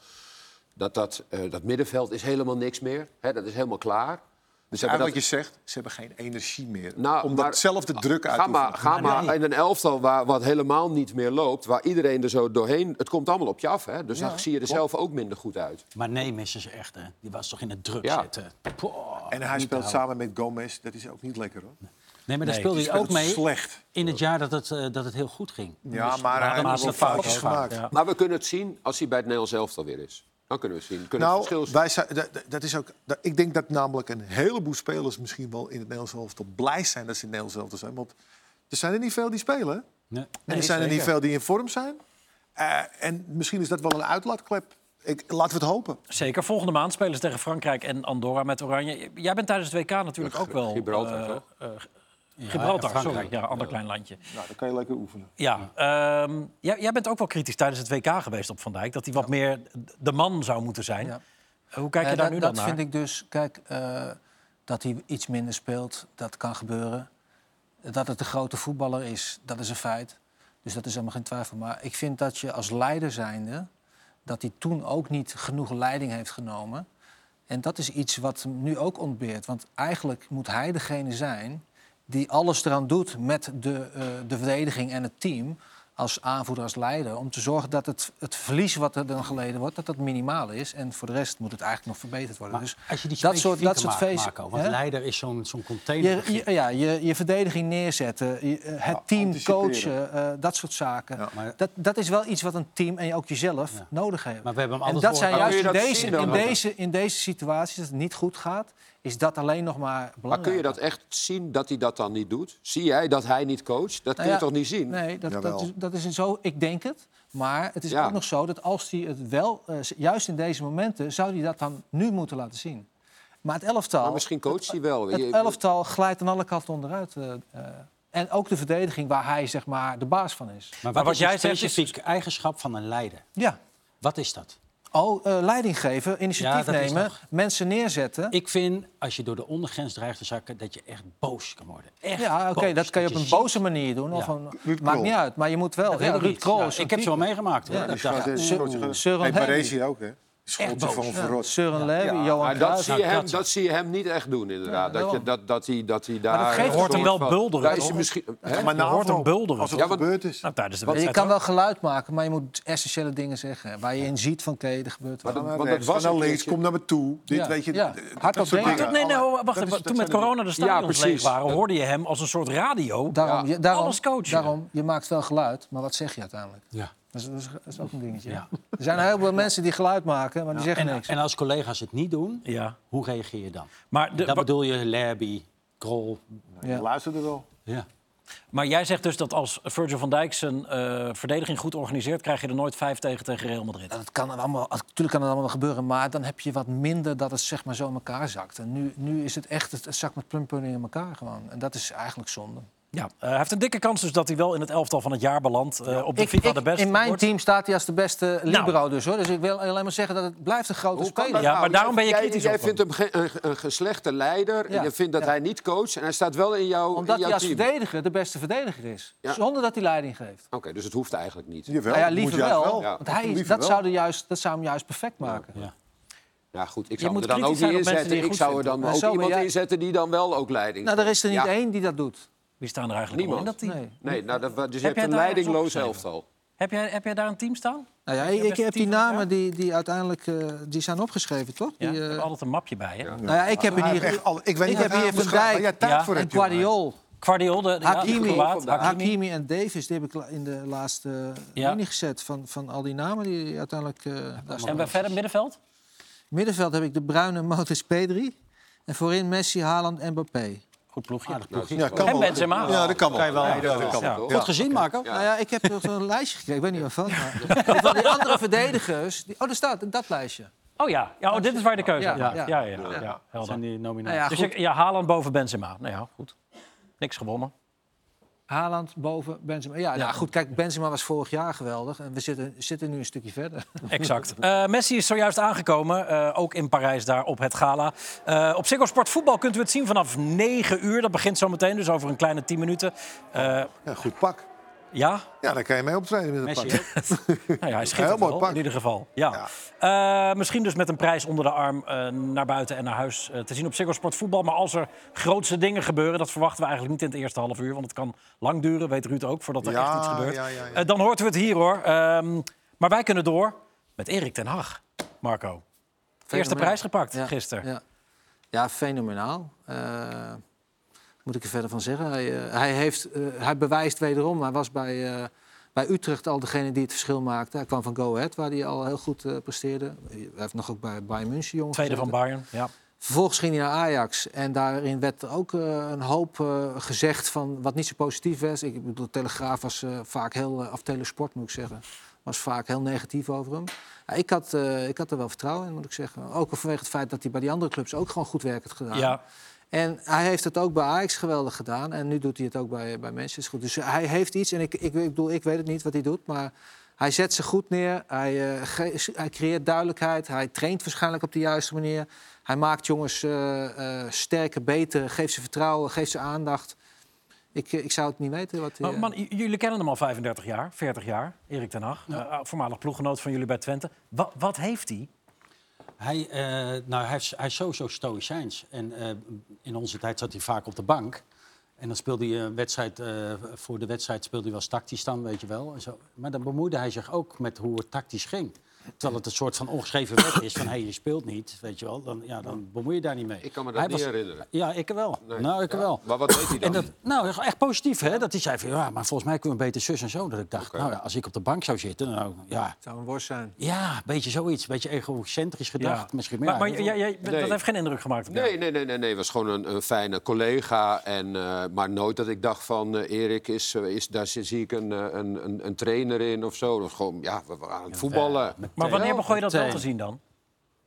S2: Dat, dat, eh, dat middenveld is helemaal niks meer. Hè? Dat is helemaal klaar. Dus
S4: Eigenlijk wat je zegt, ze hebben geen energie meer.
S2: Nou,
S4: om
S2: maar-
S4: dat zelf de druk uit te
S2: Ga maar,
S4: oefenen.
S2: ga maar in een elftal waar wat helemaal niet meer loopt, waar iedereen er zo doorheen. Het komt allemaal op je af, hè? Dus dan zie je er zelf ook minder goed uit.
S3: Maar nee, missen ze echt, hè. Die was toch in het druk
S2: Ja.
S3: zitten. Poh,
S4: En hij
S3: niet te
S4: speelt
S3: houden.
S4: samen met Gomez. Dat is ook niet lekker, hoor.
S3: Nee, maar daar
S1: Nee,
S3: speelde
S4: Die
S3: hij ook
S4: speelt
S3: mee
S4: slecht.
S3: in het jaar dat het, eh, dat het heel goed ging.
S4: Ja, maar
S1: dan
S4: hij
S1: is
S4: heeft wel
S1: het fout
S4: foutjes
S1: ook vaak,
S4: gemaakt.
S1: ja.
S2: Maar we kunnen het zien als hij bij het Nederlands elftal weer is. Dan kunnen we het zien. Kunnen we het
S4: Nou,
S2: verschil zien.
S4: wij zijn, dat, dat- dat is ook, dat- ik denk dat namelijk een heleboel spelers misschien wel in het Nederlands elftal blij zijn dat ze in het Nederlands elftal zijn. Want er zijn er niet veel die spelen. En
S3: Nee.
S4: er zijn er niet veel die in vorm zijn. Eh, en misschien is dat wel een uitlaatklep. Ik, laten we het hopen.
S1: Zeker. Volgende maand spelen ze tegen Frankrijk en Andorra met Oranje. Jij bent tijdens het WK natuurlijk ook wel...
S2: Gibraltar,
S1: eh,
S2: toch?
S1: Gibraltar,
S3: Frankrijk.
S1: sorry. Ja, ander klein landje.
S4: Nou, dan kan je lekker oefenen.
S1: Ja, ehm, jij, jij bent ook wel kritisch tijdens het WK geweest op Van Dijk. Dat hij wat meer de man zou moeten zijn.
S5: Ja.
S1: Hoe kijk je
S5: Eh,
S1: daar
S5: dat,
S1: nu
S5: dat
S1: dan naar?
S5: vind ik dus, kijk, eh, dat hij iets minder speelt, dat kan gebeuren. Dat het de grote voetballer is, dat is een feit. Dus dat is helemaal geen twijfel. Maar ik vind dat je als leider zijnde, dat hij toen ook niet genoeg leiding heeft genomen. En dat is iets wat hem nu ook ontbeert. Want eigenlijk moet hij degene zijn die alles eraan doet met de, eh, de verdediging en het team. Als aanvoerder, als leider. Om te zorgen dat het, het verlies wat er dan geleden wordt, dat dat minimaal is. En voor de rest moet het eigenlijk nog verbeterd worden.
S3: Maar
S5: dus
S3: als je die
S5: dat soort, dat soort
S3: feesten...
S5: feesten.
S3: Marco, want
S5: hè?
S3: leider is zo'n zo'n container.
S5: Je, je- ja, je, je verdediging neerzetten, je- eh, het
S4: Ja,
S5: team
S4: anticiperen.
S5: coachen, eh, dat soort zaken.
S4: Ja.
S3: Maar-
S5: Dat, dat is wel iets wat een team en ook jezelf nodig hebben.
S3: Maar we hebben hem
S5: en
S3: altijd
S5: dat zijn
S3: horen-
S2: Maar kun
S5: juist
S2: je
S5: in
S2: dat
S5: deze,
S2: zien dan?
S5: in, deze, in deze situaties, dat het niet goed gaat, is dat alleen nog maar belangrijk. Nou
S2: Maar kun je dat echt zien dat hij dat dan niet doet? Zie jij dat hij niet coacht? Dat kun je
S5: Nou ja,
S2: toch niet zien?
S5: Nee, dat, dat,
S4: Jawel.
S5: is, dat is een zo. Ik denk het. Maar het is
S2: Ja.
S5: ook nog zo dat als hij het wel, eh, z- juist in deze momenten, zou hij dat dan nu moeten laten zien. Maar het elftal,
S2: Maar misschien coacht hij wel.
S5: het
S2: Je-
S5: elftal glijdt aan alle kanten onderuit. eh, eh. en ook de verdediging waar hij zeg maar de baas van is.
S3: Maar
S1: Maar
S3: wat
S1: wat
S3: is een
S1: jij zegt is-
S3: specifiek eigenschap van een leider?
S5: Ja.
S3: Wat is dat?
S5: Oh, eh, leiding geven,
S3: Ja,
S5: initiatief
S3: dat is
S5: nemen,
S3: nog-
S5: mensen neerzetten.
S3: Ik vind, als je door de ondergrens dreigt te zakken, dat je echt boos kan worden. Echt
S5: ja, oké,
S3: boos.
S5: dat kan je op een
S3: ziet-
S5: boze manier doen. Of
S3: Ja.
S5: een,
S4: Ruud
S5: maakt
S4: Krol.
S5: niet uit, maar je moet wel.
S3: Ja,
S5: heel
S3: Ruud Krol, ik heb ze wel meegemaakt. hoor.
S5: Ja, dus
S3: Dat dacht ik.
S5: Søren
S4: Hey,
S5: Henry.
S4: Baresi ook, hè? Schooltje
S3: boos,
S4: van
S3: ja.
S4: verrot.
S5: Søren Levy, Johan
S2: Maar dat
S5: Cruijff.
S2: zie, je hem,
S3: dat-
S2: dat zie je hem niet echt doen, inderdaad. dat, je,
S5: daarom.
S2: dat, dat, hij, dat hij daar...
S5: dat geeft
S2: een
S5: hoort
S2: soort
S1: hem wel
S2: van-
S1: bulderen,
S2: Daar is
S1: toch?
S2: hij misschien... hè?
S4: Maar
S1: Je hoort hem
S4: NAVO,
S1: bulderen.
S4: Als het
S2: Ja, want-
S4: gebeurd is.
S1: Nou, tijdens de
S5: Ja, je
S1: wedstrijd
S5: kan
S1: ook.
S5: wel geluid maken, maar je moet essentiële dingen zeggen. Waar je in ziet van, oké, er gebeurt wat.
S2: Maar
S4: Ga naar
S2: Want dat
S4: rechts,
S2: was
S4: ga naar
S2: een
S4: links,
S2: keertje-
S4: kom naar me toe. Dit
S5: Ja,
S4: weet je.
S5: ja.
S4: d-
S5: Hard
S4: dat soort
S5: op
S4: dingen.
S5: denken.
S1: Nee, nee, oh, wacht
S4: Dat
S1: even.
S4: is-
S1: Toen
S4: dat
S1: met
S4: zijn
S1: corona de stadions
S2: precies.
S1: leeg waren... hoorde je hem als een soort radio.
S5: Daarom,
S2: Ja.
S5: je- daarom,
S1: Alles coachen.
S5: Daarom, je maakt wel geluid, maar wat zeg je uiteindelijk?
S3: Ja.
S5: Dat is, dat is, dat is ook een dingetje.
S3: Ja.
S5: Er zijn heel veel mensen die geluid maken, maar die zeggen
S3: En,
S5: niks.
S3: en als collega's het niet doen,
S1: Ja.
S3: hoe reageer je dan?
S1: Maar, de-
S3: dat
S1: wa-
S3: bedoel je Lerby, Krol.
S5: Ja.
S4: Luister er wel.
S3: Ja.
S1: maar jij zegt dus dat als Virgil van Dijk zijn eh, verdediging goed organiseert... krijg je er nooit vijf tegen tegen Real Madrid.
S5: Dat kan allemaal, natuurlijk kan het allemaal gebeuren, maar dan heb je wat minder dat het zeg maar zo in elkaar zakt. En nu, nu is het echt, het, het zakt met plumpudding in elkaar gewoon. En dat is eigenlijk zonde.
S1: Ja, eh, hij heeft een dikke kans dus dat hij wel in het elftal van het jaar belandt. eh, op de
S5: Ik-
S1: FIFA
S5: ik-
S1: de beste Nou.
S5: in mijn
S1: wordt.
S5: team staat hij als de beste libero dus hoor. Dus ik wil alleen maar zeggen dat het blijft een grote
S2: Hoe kan
S5: speler.
S2: dat
S1: Ja,
S2: nou?
S1: maar daarom ben je
S2: Jij-
S1: kritisch
S2: Jij
S1: op
S2: vindt hem ge- een, een geslechte leider.
S5: Ja.
S2: En je vindt dat
S5: Ja.
S2: hij niet coacht. En hij staat wel in, jou,
S5: Omdat
S2: in
S5: hij
S2: jouw
S5: als
S2: team. Oké,
S5: verdediger de beste verdediger is.
S2: Ja.
S5: Zonder dat hij leiding geeft.
S2: dus het hoeft eigenlijk niet. Ja,
S4: Jawel,
S5: nou ja,
S4: dat moet
S5: liever
S4: juist
S5: wel.
S2: Ja.
S5: Want hij,
S4: Liever
S5: dat,
S4: wel.
S5: Zou er juist, dat zou hem juist perfect maken.
S2: goed, ik
S1: Je
S2: zou
S1: moet
S2: hem er dan ook
S1: kritisch
S2: niet
S1: zijn op mensen die
S2: inzetten.
S1: je
S2: Ik
S1: goed
S2: zou er dan
S1: vindt.
S5: Maar
S2: ook
S5: zo ben
S2: iemand
S5: jij-
S2: inzetten die dan wel ook leiding
S5: Nou, er is er niet
S2: Ja.
S5: één die dat doet.
S1: Wie staan er eigenlijk allemaal
S2: Niemand.
S1: in dat team?
S5: Nee.
S2: Nee, nou, dat, dus je
S1: Heb
S2: hebt
S1: jij
S2: een
S1: daar ergens
S2: leidingloos
S1: opgeschreven?
S2: elftal.
S1: Heb, jij, heb jij daar een team staan?
S5: Nou ja,
S1: Heb je
S5: ik, ik
S1: beste
S5: heb die
S1: team van het
S5: namen die, die uiteindelijk eh, die zijn opgeschreven, toch?
S1: Ja,
S5: Die,
S1: ik
S5: eh,
S1: heb altijd een mapje bij. Hè?
S5: nou ja, ik heb
S4: Hij
S5: in
S4: heeft
S5: hier
S4: echt alle- ik weet
S5: ik
S4: niet
S5: heb hier Van Dijk
S4: waar jij tijd
S1: Ja,
S4: voor
S5: en
S4: hebt, jongen.
S5: Guardiol,
S1: Guardiol, de, de, ja,
S5: Hakimi,
S1: Kroaat,
S5: Hakimi.
S1: Hakimi.
S5: en Davis. Die heb ik la- in de laatste
S1: Ja.
S5: linie gezet van, van al die namen die uiteindelijk... eh, daar
S1: En
S5: staan.
S1: bij verder middenveld?
S5: Middenveld heb ik de Bruine Motis Pedri. En voorin Messi, Haaland en Mbappé.
S1: Goed ploegje.
S4: Ja, kan
S1: en
S4: wel.
S1: Benzema.
S4: Ja, dat kan wel.
S3: Kan je wel.
S4: Ja, dat kan
S1: Ja.
S4: wel.
S3: Goed
S4: Ja.
S3: gezien, Marco.
S5: Nou ja, ik heb nog een lijstje gekregen. Ik weet niet waarvan. maar- Van die andere verdedigers. Die, oh, daar staat dat lijstje.
S1: Oh ja, ja oh, dit is waar je de keuze
S5: Ja,
S1: op maakt.
S5: ja.
S1: Ja, ja, ja, ja,
S3: Dat
S1: helder.
S3: zijn die
S5: Nou
S3: nominaties.
S5: ja,
S1: Dus
S5: goed.
S1: je, ja, Haaland boven Benzema. Nou ja, goed. Niks gewonnen.
S5: Haaland boven Benzema. Ja, nou, goed, kijk, Benzema was vorig jaar geweldig. En we zitten, zitten nu een stukje verder.
S1: Exact. Eh, Messi is zojuist aangekomen, eh, ook in Parijs daar op het gala. Eh, op Ziggo Sport Voetbal kunt u het zien vanaf 9 uur. Dat begint zo meteen, dus over een kleine 10 minuten. Eh,
S4: Ja, goed pak.
S1: ja,
S4: Ja, dan kan je mee optreden met een
S3: Messi,
S4: pak.
S1: Nou ja, hij
S4: Heel
S1: schittert
S4: mooi
S1: wel,
S4: pak.
S1: in ieder geval. Ja. Eh, misschien dus met een prijs onder de arm eh, naar buiten en naar huis eh, te zien op Ziggo Sport Voetbal. Maar als er grootste dingen gebeuren, dat verwachten we eigenlijk niet in het eerste half uur. Want het kan lang duren, weet Ruud ook, voordat er
S4: Ja,
S1: echt iets gebeurt.
S4: ja, ja, ja.
S1: Eh, dan hoort u het hier hoor. Ehm, maar wij kunnen door met Erik ten Hag, Marco. Eerste
S5: Fenomenaal.
S1: prijs gepakt
S5: Ja,
S1: gisteren.
S5: Ja, ja fenomenaal. Eh, moet ik er verder van zeggen. Hij, eh, hij, heeft, eh, hij bewijst wederom. Hij was bij, eh, bij Utrecht al degene die het verschil maakte. Hij kwam van Go Ahead, waar hij al heel goed eh, presteerde. Hij heeft nog ook bij Bayern München jong
S1: Tweede
S5: gezeten.
S1: van Bayern. Ja.
S5: Vervolgens ging hij naar Ajax en daarin werd er ook eh, een hoop eh, gezegd van wat niet zo positief was. Ik bedoel, Telegraaf was eh, vaak heel, eh, of Telesport moet ik zeggen, was vaak heel negatief over hem. Ja, ik, had, eh, ik had er wel vertrouwen in, moet ik zeggen. Ook vanwege het feit dat hij bij die andere clubs ook gewoon goed werk had gedaan.
S1: Ja.
S5: En hij heeft het ook bij Ajax geweldig gedaan. En nu doet hij het ook bij, bij Manchester goed. Dus hij heeft iets. En ik, ik, ik bedoel, ik weet het niet wat hij doet. Maar hij zet ze goed neer. Hij, eh, ge- hij creëert duidelijkheid. Hij traint waarschijnlijk op de juiste manier. Hij maakt jongens eh, eh, sterker, beter. Geeft ze vertrouwen, geeft ze aandacht. Ik, eh, ik zou het niet weten wat hij...
S1: Maar man, j- jullie kennen hem al 35 jaar, 40 jaar, Erik ten Hag. Eh, voormalig ploeggenoot van jullie bij Twente. Wa- wat heeft hij?
S3: Hij, eh, nou, hij, is, hij is sowieso stoïcijns. En eh, in onze tijd zat hij vaak op de bank. En dan speelde hij een wedstrijd, eh, voor de wedstrijd speelde hij wel eens tactisch dan, weet je wel. En zo. Maar dan bemoeide hij zich ook met hoe het tactisch ging. Terwijl het een soort van ongeschreven wet is van, hé, je speelt niet, weet je wel. Dan, ja, dan bemoei je daar niet mee.
S2: Ik kan me dat
S3: Hij
S2: niet
S3: was-
S2: herinneren.
S3: Ja, ik wel.
S2: Nee.
S3: Nou, ik
S2: Ja.
S3: wel.
S2: Maar wat weet hij
S3: En
S2: dan?
S3: dat, nou, echt positief, hè? Dat hij zei van, ja, maar volgens mij kunnen we beter zus en zo. Dat ik dacht, nou ja, als ik op de bank zou zitten, nou ja...
S5: Het zou een worst zijn.
S3: Ja, een beetje zoiets. Een beetje egocentrisch gedacht.
S1: Ja.
S3: Misschien
S1: maar maar
S3: Ja,
S1: jij- jij- dat
S2: Nee.
S1: heeft geen indruk gemaakt op jou.
S2: Nee, nee, nee, nee, nee. was gewoon een, een fijne collega. En, eh, maar nooit dat ik dacht van eh, Erik, is, eh, is, daar zie zie ik een, eh, een, een, een trainer in of zo. Dat was gewoon, ja, we waren aan het voetballen.
S1: Maar wanneer begon je dat wel te
S3: meteen.
S1: zien dan?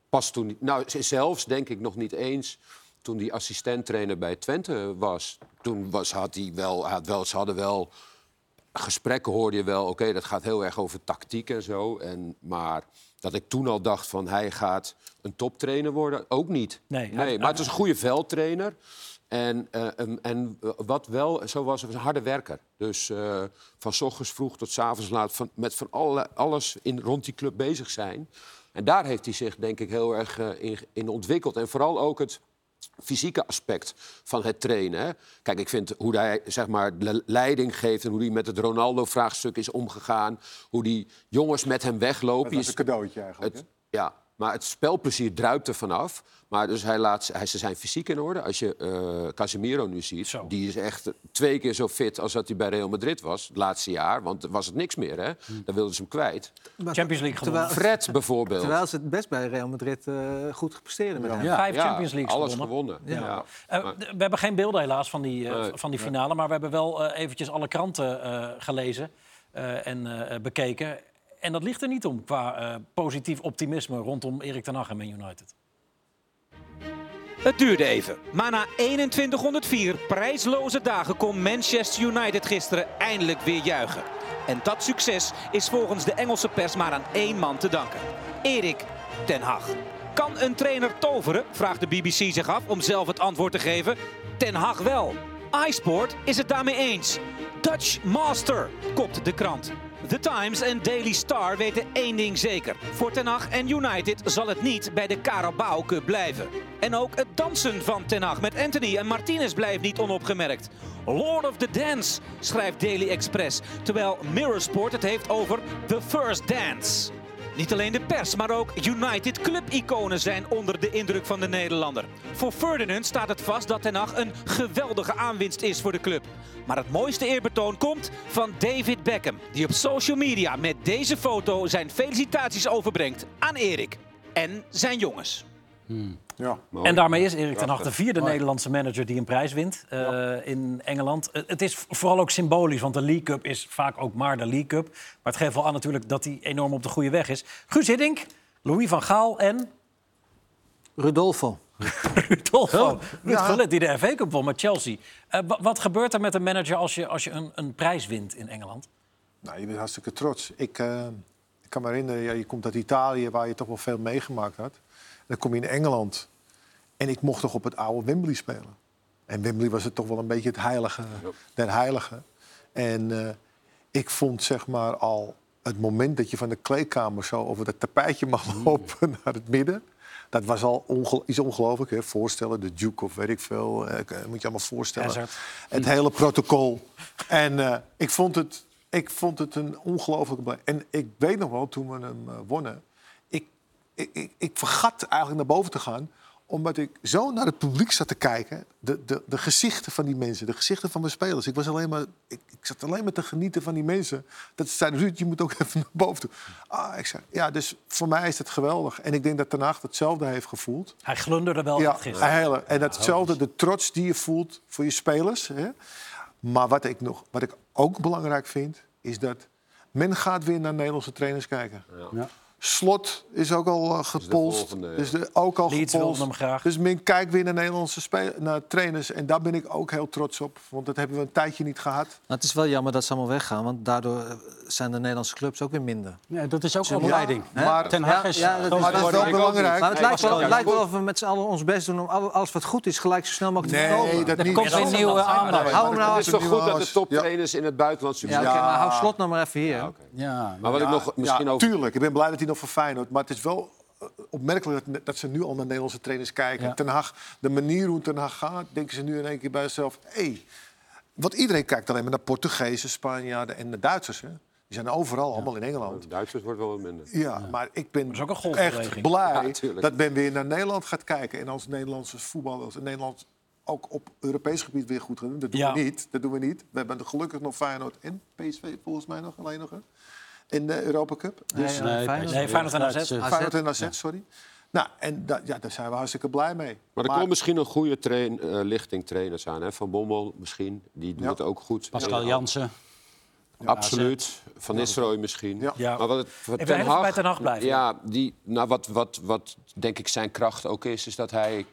S2: Pas toen, nou, z- zelfs denk ik nog niet eens toen die assistent-trainer bij Twente was. Toen was, had hij wel, hij had wel, ze hadden wel gesprekken, hoorde je wel. Oké, dat gaat heel erg over tactiek en zo. En, maar dat ik toen al dacht van hij gaat een toptrainer worden, ook niet.
S1: Nee,
S2: nee
S1: hij-
S2: maar het is een goede veldtrainer. En, eh, en, en wat wel zo was, hij was een harde werker. Dus eh, van 's ochtends vroeg tot 's avonds laat van, met van alle, alles in, rond die club bezig zijn. En daar heeft hij zich denk ik heel erg eh, in, in ontwikkeld. En vooral ook het fysieke aspect van het trainen. hè. Kijk, ik vind hoe hij zeg maar, de leiding geeft... en hoe hij met het Ronaldo-vraagstuk is omgegaan... hoe die jongens met hem weglopen.
S4: Dat is een
S2: Je-
S4: cadeautje eigenlijk.
S2: het, ja, maar het spelplezier druipt er vanaf. Maar dus hij laat hij, ze zijn fysiek in orde. Als je eh, Casemiro nu ziet,
S1: Zo.
S2: die is echt twee keer zo fit als dat hij bij Real Madrid was het laatste jaar. Want was het niks meer, hè? Dan wilden ze hem kwijt.
S1: Champions League gewonnen.
S2: Fred bijvoorbeeld.
S5: Terwijl ze het best bij Real Madrid eh, goed gepresteerd hebben.
S3: Ja.
S1: Vijf
S2: Ja,
S1: Champions League
S2: alles
S1: gewonnen.
S2: gewonnen. Ja.
S1: Eh, d- we hebben geen beelden helaas van die, eh,
S2: Nee.
S1: van die finale. Maar we hebben wel eh, eventjes alle kranten eh, gelezen eh, en eh, bekeken. En dat ligt er niet om qua eh, positief optimisme rondom Erik ten Hag en Man United.
S6: Het duurde even, maar na 2104 prijsloze dagen kon Manchester United gisteren eindelijk weer juichen. En dat succes is volgens de Engelse pers maar aan één man te danken. Erik ten Hag. Kan een trainer toveren, vraagt de BBC zich af om zelf het antwoord te geven. Ten Hag wel. iSport is het daarmee eens. Dutch Master, kopt de krant. The Times en Daily Star weten één ding zeker. Voor Ten Hag en United zal het niet bij de Carabao Cup blijven. En ook het dansen van Ten Hag met Anthony en Martinez blijft niet onopgemerkt. Lord of the Dance, schrijft Daily Express. Terwijl Mirrorsport het heeft over The First Dance. Niet alleen de pers, maar ook United Club-iconen zijn onder de indruk van de Nederlander. Voor Ferdinand staat het vast dat Ten Hag een geweldige aanwinst is voor de club. Maar het mooiste eerbetoon komt van David Beckham, die op social media met deze foto zijn felicitaties overbrengt aan Erik en zijn jongens.
S4: Ja.
S1: En daarmee is Erik ten Hag de
S2: Prachtig.
S1: vierde Nederlandse manager die een prijs wint eh, in Engeland. Eh, Het is vooral ook symbolisch, want de League Cup is vaak ook maar de League Cup. Maar het geeft wel aan natuurlijk dat hij enorm op de goede weg is. Guus Hiddink, Louis van Gaal en
S5: Rudolfo.
S1: Rudolfo. Ruud Gullit, die de FA Cup won met Chelsea. Eh, wa- wat gebeurt er met een manager als je, als je een, een prijs wint in Engeland?
S4: Nou, je bent hartstikke trots. Ik, eh, ik kan me herinneren, ja, je komt uit Italië waar je toch wel veel meegemaakt had. En dan kom je in Engeland. En ik mocht toch op het oude Wembley spelen. En Wembley was het toch wel een beetje het heilige der heiligen. En eh, ik vond zeg maar al het moment dat je van de kleedkamer zo over dat tapijtje mag lopen naar het midden. Dat was al ongel- iets ongelooflijk. hè. Voorstellen, de Duke of weet ik veel. eh, k- moet je allemaal voorstellen.
S1: Hazard.
S4: Het hele protocol. En eh, ik, vond het, ik vond het een ongelooflijke... bele- En ik weet nog wel, toen we hem eh, wonnen... Ik, ik, ik, ik vergat eigenlijk naar boven te gaan omdat ik zo naar het publiek zat te kijken. De, de, de gezichten van die mensen, de gezichten van mijn spelers. Ik, was alleen maar, ik, ik zat alleen maar te genieten van die mensen. Dat ze zeiden, Ruud, je moet ook even naar boven toe. Ah, ik zei, ja, dus voor mij is het geweldig. En ik denk dat Ten Hag hetzelfde heeft gevoeld.
S1: Hij glunderde wel
S4: Ja,
S1: echt Oh, gisteren.
S4: een hele- en datzelfde, de trots die je voelt voor je spelers. Hè. Maar wat ik, nog, wat ik ook belangrijk vind, is dat men gaat weer naar Nederlandse trainers kijken.
S3: Ja.
S4: Slot is ook al eh, gepolst.
S2: volgende, ja.
S4: Dus de, ook al
S1: Leeds
S4: gepolst.
S1: wilde hem graag.
S4: Dus men kijkt weer naar Nederlandse spe- naar trainers. En daar ben ik ook heel trots op. Want dat hebben we een tijdje niet gehad.
S5: Maar het is wel jammer dat ze allemaal weggaan, want daardoor eh, zijn de Nederlandse clubs ook weer minder.
S3: Ja, dat is ook
S4: Ja,
S3: een leiding.
S4: maar-
S3: Ten Hag
S5: Ja,
S3: is
S5: ja, dat is-
S3: groot
S4: Maar dat is
S3: geworden.
S4: wel belangrijk.
S5: Maar het lijkt wel,
S4: Ja,
S5: het lijkt wel of we met z'n allen ons best doen om al- alles wat goed is gelijk zo snel mogelijk te
S4: Nee,
S5: verkopen.
S4: dat
S5: Er
S4: niet.
S5: komt
S4: Ja,
S5: geen
S1: dat-
S5: nieuwe
S1: dat-
S5: aandacht.
S4: nee, maar
S5: Hou hem
S4: dat
S5: nou
S2: Het is
S5: uit.
S4: het
S2: toch goed dat
S4: nuance.
S2: de toptrainers in het buitenland
S5: Ja,
S2: succes
S5: oké, maar hou slot nog maar even hier.
S3: Ja,
S2: Maar wat ik
S4: Ja,
S2: nog misschien
S4: ja,
S2: over...
S4: Tuurlijk, ik ben blij dat hij nog voor Feyenoord. Maar het is wel eh, opmerkelijk dat, dat ze nu al naar Nederlandse trainers kijken.
S3: Ja.
S4: Ten Hag, de manier hoe Ten Hag gaat, denken ze nu in één keer bij zichzelf... Hey, want iedereen kijkt alleen maar naar Portugezen, Spanjaarden en de Duitsers. Hè? Die zijn overal, allemaal in Engeland.
S2: Duitsers wordt wel wat minder.
S4: Ja, maar ik ben
S1: is ook een golfbeweging.
S4: echt blij
S2: tuurlijk.
S4: dat men weer naar Nederland gaat kijken. En als Nederlandse voetbal, als Nederland ook op Europees gebied weer goed gaat doen. Dat doen,
S1: Ja.
S4: we niet, dat doen we niet. We hebben gelukkig nog Feyenoord en PSV volgens mij nog alleen nog. hè, In de Europa Cup. Dus
S5: Ja,
S3: nee,
S5: Feyenoord.
S1: Nee, Feyenoord en AZ.
S3: dat is, eh,
S5: AZ.
S4: Feyenoord en AZ, sorry. Nou, en da- ja, daar zijn we hartstikke blij mee.
S2: Maar er komt misschien een goede train, eh, lichting trainers aan. Hè? Van Bommel misschien, die doet
S4: Ja.
S2: het ook goed.
S3: Pascal
S2: Ja,
S3: Jansen.
S2: Absoluut. Van Nistelrooy misschien.
S4: Ja.
S1: Ja.
S2: Maar wat het, wat
S1: Even even bij Ten Hag blijven,
S2: Ja, die, nou, wat, wat, wat denk ik zijn kracht ook is, is dat hij...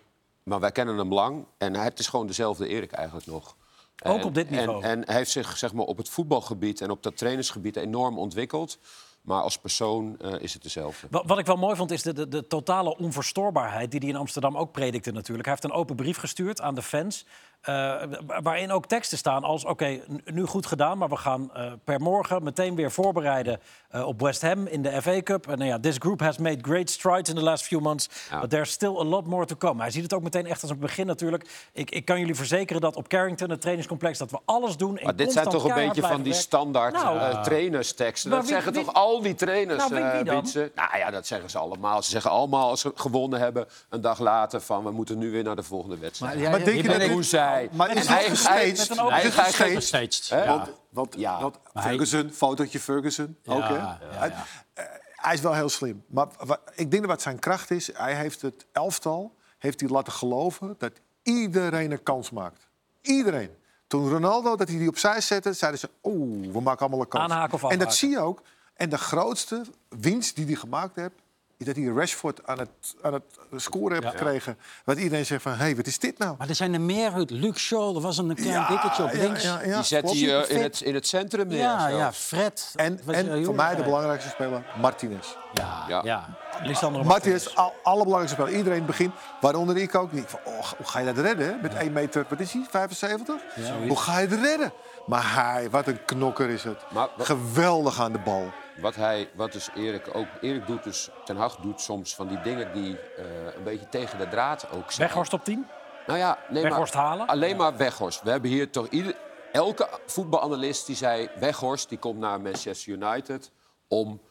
S2: Maar wij kennen hem lang en hij, het is gewoon dezelfde Erik eigenlijk nog.
S1: Ook
S2: En-
S1: op dit niveau.
S2: En, en hij heeft zich zeg maar, op het voetbalgebied en op dat trainersgebied enorm ontwikkeld. Maar als persoon eh, is het dezelfde.
S1: Wa- Wat ik wel mooi vond is de, de, de totale onverstoorbaarheid die hij in Amsterdam ook predikte natuurlijk. Hij heeft een open brief gestuurd aan de fans, eh, wa- waarin ook teksten staan als... oké, n- nu goed gedaan, maar we gaan eh, per morgen meteen weer voorbereiden eh, op West Ham in de FA Cup. En nou ja, this group has made great strides in the last few months, but there's still a lot more to come. Hij ziet het ook meteen echt als een begin natuurlijk. Ik, ik kan jullie verzekeren dat op Carrington, het trainingscomplex, dat we alles doen... en
S2: Maar dit zijn
S1: constant
S2: toch een
S1: keihard
S2: beetje van
S1: blijven
S2: die
S1: werken.
S2: standaard
S1: Nou,
S2: eh, trainersteksten.
S1: maar
S2: Dat
S1: wie-
S2: zeggen
S1: wie-
S2: toch al die trainers,
S1: Nou, wie- wie
S2: eh,
S1: dan?
S2: Wietse? Nou ja, dat zeggen ze allemaal. Ze zeggen allemaal als ze gewonnen hebben, een dag later van... we moeten nu weer naar de volgende wedstrijd.
S5: Maar jij-
S4: Maar denk je
S2: En
S4: dat
S2: hoe
S4: dit...
S2: zij...
S4: Maar is
S2: en
S4: dit gestaged?
S1: met een open-
S2: hij-
S4: Is dit
S2: hij-
S4: gestaged?
S3: Steeds.
S2: Hè?
S3: Ja.
S4: Want, want,
S2: Ja.
S4: want
S3: Maar hij-
S4: Ferguson, fotootje Ferguson, ook hè?
S3: ja,
S4: Hij, eh, hij is wel heel slim. Maar wa- ik denk dat wat zijn kracht is... hij heeft het elftal heeft hij laten geloven dat iedereen een kans maakt. Iedereen. Toen Ronaldo dat hij die opzij zette, zeiden ze... oeh, we maken allemaal een kans.
S1: Aanhaken of
S4: en dat
S1: afhaken.
S4: zie je ook. En de grootste winst die hij gemaakt heeft... is dat hij Rashford aan het, aan het scoren heeft
S3: Ja.
S4: gekregen. Wat iedereen zegt van, hé, hey, wat is dit nou?
S3: Maar er zijn er meer uit. Luke Shaw, er was een klein dikketje op
S4: ja,
S3: links.
S4: ja,
S3: Ja,
S4: ja,
S2: die zet
S4: klopt.
S2: hij eh, in,
S3: perfect.
S2: het, in het centrum neer.
S3: ja,
S2: zelfs.
S3: Fred.
S4: En,
S3: Was-
S4: en
S3: eh,
S4: voor mij de
S3: ja.
S4: belangrijkste speler, Martinez.
S3: Ja, ja.
S2: Ja.
S1: Lisandro
S4: Martinez, al, allerbelangrijkste speler. Iedereen begint, waaronder ik ook. Die van, oh, hoe ga je dat redden? hè? Met 1 meter, wat is hij, 75? hoe ga je dat redden? Maar hij, wat een knokker is het.
S2: Maar wat-
S4: Geweldig aan de bal.
S2: Wat, hij, wat dus Erik ook... Erik doet dus... Ten Hag doet soms van die dingen die eh, een beetje tegen de draad ook zijn.
S1: Weghorst op 10.
S2: Nou ja, nee,
S1: Weghorst
S2: maar,
S1: halen?
S2: Alleen maar Weghorst. We hebben hier toch ieder, elke voetbalanalist die zei... Weghorst die komt naar Manchester United om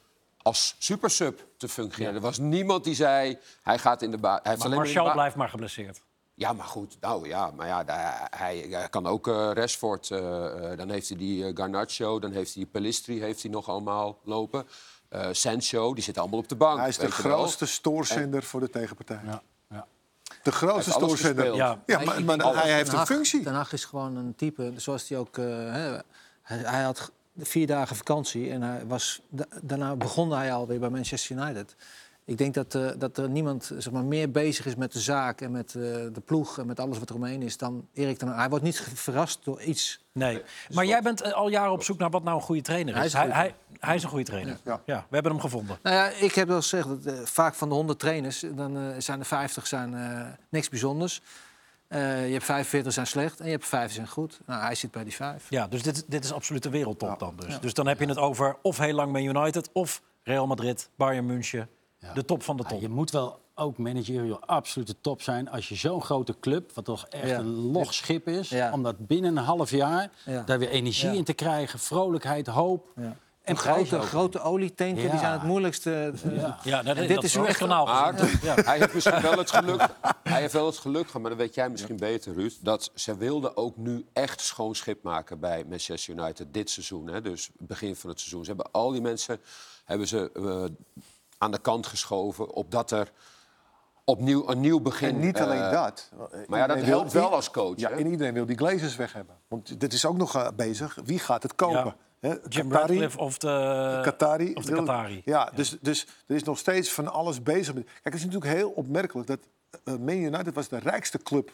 S2: als supersub te fungeren. Er was niemand die zei, hij gaat in de baan. Hij heeft
S1: Maar
S2: alleen maar in de
S1: Martial
S2: ba-
S1: blijft maar geblesseerd.
S2: Ja, maar goed. Nou ja, maar ja, daar- hij, hij kan ook eh Rashford. eh, eh, dan heeft hij die eh, Garnacho, dan heeft hij die Pelistri, heeft hij nog allemaal lopen. Eh Sancho, die zitten allemaal op de bank.
S4: Hij is de
S2: weet je wel.
S4: grootste stoorzender voor de tegenpartij. De grootste
S2: Hij heeft alles
S4: stoorzender.
S2: gespeeld.
S4: Ja,
S1: Ja.
S4: maar, maar hij heeft een functie.
S5: Ten Hag is gewoon een type, zoals hij ook... eh, hè, hij, hij had g- vier dagen vakantie en hij was, da- daarna begon hij alweer bij Manchester United. Ik denk dat, eh, dat er niemand zeg maar, meer bezig is met de zaak en met eh, de ploeg... en met alles wat er omheen is dan Erik ten Hag. Hij wordt niet ge- verrast door iets.
S1: Nee. Maar jij bent eh, al jaren op zoek naar wat nou een goede trainer is.
S5: Hij is een
S1: hij,
S5: goede
S1: hij, hij is een goede trainer. Ja.
S4: Ja.
S1: we hebben hem gevonden.
S5: Nou ja, ik heb wel eens gezegd, dat, eh, vaak van de 100 trainers, dan eh, zijn er 50 zijn, eh, niks bijzonders. Eh, je hebt 45 zijn slecht en je hebt 5 zijn goed. Nou, hij zit bij die 5.
S1: Ja, dus dit, dit is absoluut de wereldtop dan dus. Dus dan heb je het over of heel lang Man United... of Real Madrid, Bayern München. De top van de
S4: Ah,
S3: Ja,
S1: top.
S3: je moet wel ook managerial absolute top zijn als je zo'n grote club, wat toch echt
S5: Ja.
S3: een log schip is,
S5: Ja.
S3: om dat binnen een half jaar
S5: Ja.
S3: daar weer energie
S5: Ja.
S3: in te krijgen, vrolijkheid, hoop.
S5: Ja.
S3: En prijzen
S5: grote,
S3: ook.
S5: grote olietanken,
S3: Ja.
S5: die zijn het moeilijkste. eh,
S1: Ja, nou, dat,
S5: dit
S1: dat
S5: is
S1: is
S5: nu
S1: echt
S5: echt-
S1: kanaal.
S2: Maar hij heeft misschien wel het geluk. Hij heeft wel het geluk gehad, maar dat weet jij misschien beter, Ruud. Dat ze wilden ook nu echt schoon schip maken bij Manchester United dit seizoen. Hè? Dus begin van het seizoen. Ze hebben al die mensen hebben ze, eh, aan de kant geschoven. Opdat er opnieuw een nieuw begin.
S4: En niet alleen
S2: eh,
S4: dat.
S2: maar ja, dat
S4: Iedereen
S2: helpt
S4: wil-
S2: wel als coach.
S4: Ja,
S2: hè?
S4: en iedereen wil die glazers weg hebben. Want dit is ook nog eh, bezig. Wie gaat het kopen? Hè,
S1: Jim
S4: Qatari,
S1: Ratcliffe of de
S4: Qatari.
S1: Eh, Of de
S4: wil-
S1: Qatari.
S4: Ja, Dus, dus er is nog steeds van alles bezig. met- Kijk, het is natuurlijk heel opmerkelijk dat eh, Man United was de rijkste club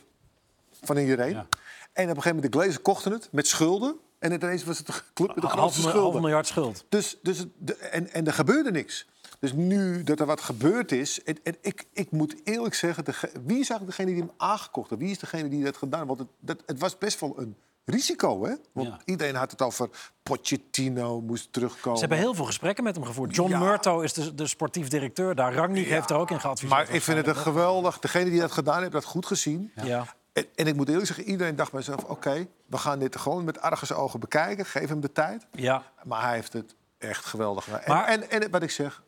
S4: van iedereen. En op een gegeven moment de glazers kochten het met schulden. En ineens was het de club met de
S1: half-
S4: grootste
S1: half
S4: schulden.
S1: miljard schuld.
S4: Dus, dus het- de- en, en er gebeurde niks. Dus nu dat er wat gebeurd is, en, en ik, ik moet eerlijk zeggen, dege- wie is eigenlijk degene die hem aangekocht heeft? Wie is degene die dat gedaan? heeft? Want het, dat, het was best wel een risico, hè? Want
S3: Ja.
S4: iedereen had het over Pochettino moest terugkomen.
S1: Ze hebben heel veel gesprekken met hem gevoerd. John
S4: Oh, Ja.
S1: Murto is de, de sportief directeur daar. Rangnick heeft er ook in geadviseerd.
S4: maar ik vind het een geweldig. Degene die dat gedaan heeft, dat goed gezien.
S1: Ja.
S4: En, en ik moet eerlijk zeggen, iedereen dacht bij zichzelf: oké, we gaan dit gewoon met argusogen bekijken. Geef hem de tijd.
S1: Ja.
S4: Maar hij heeft het echt geweldig gedaan. En,
S1: Maar-
S4: en, en wat ik zeg,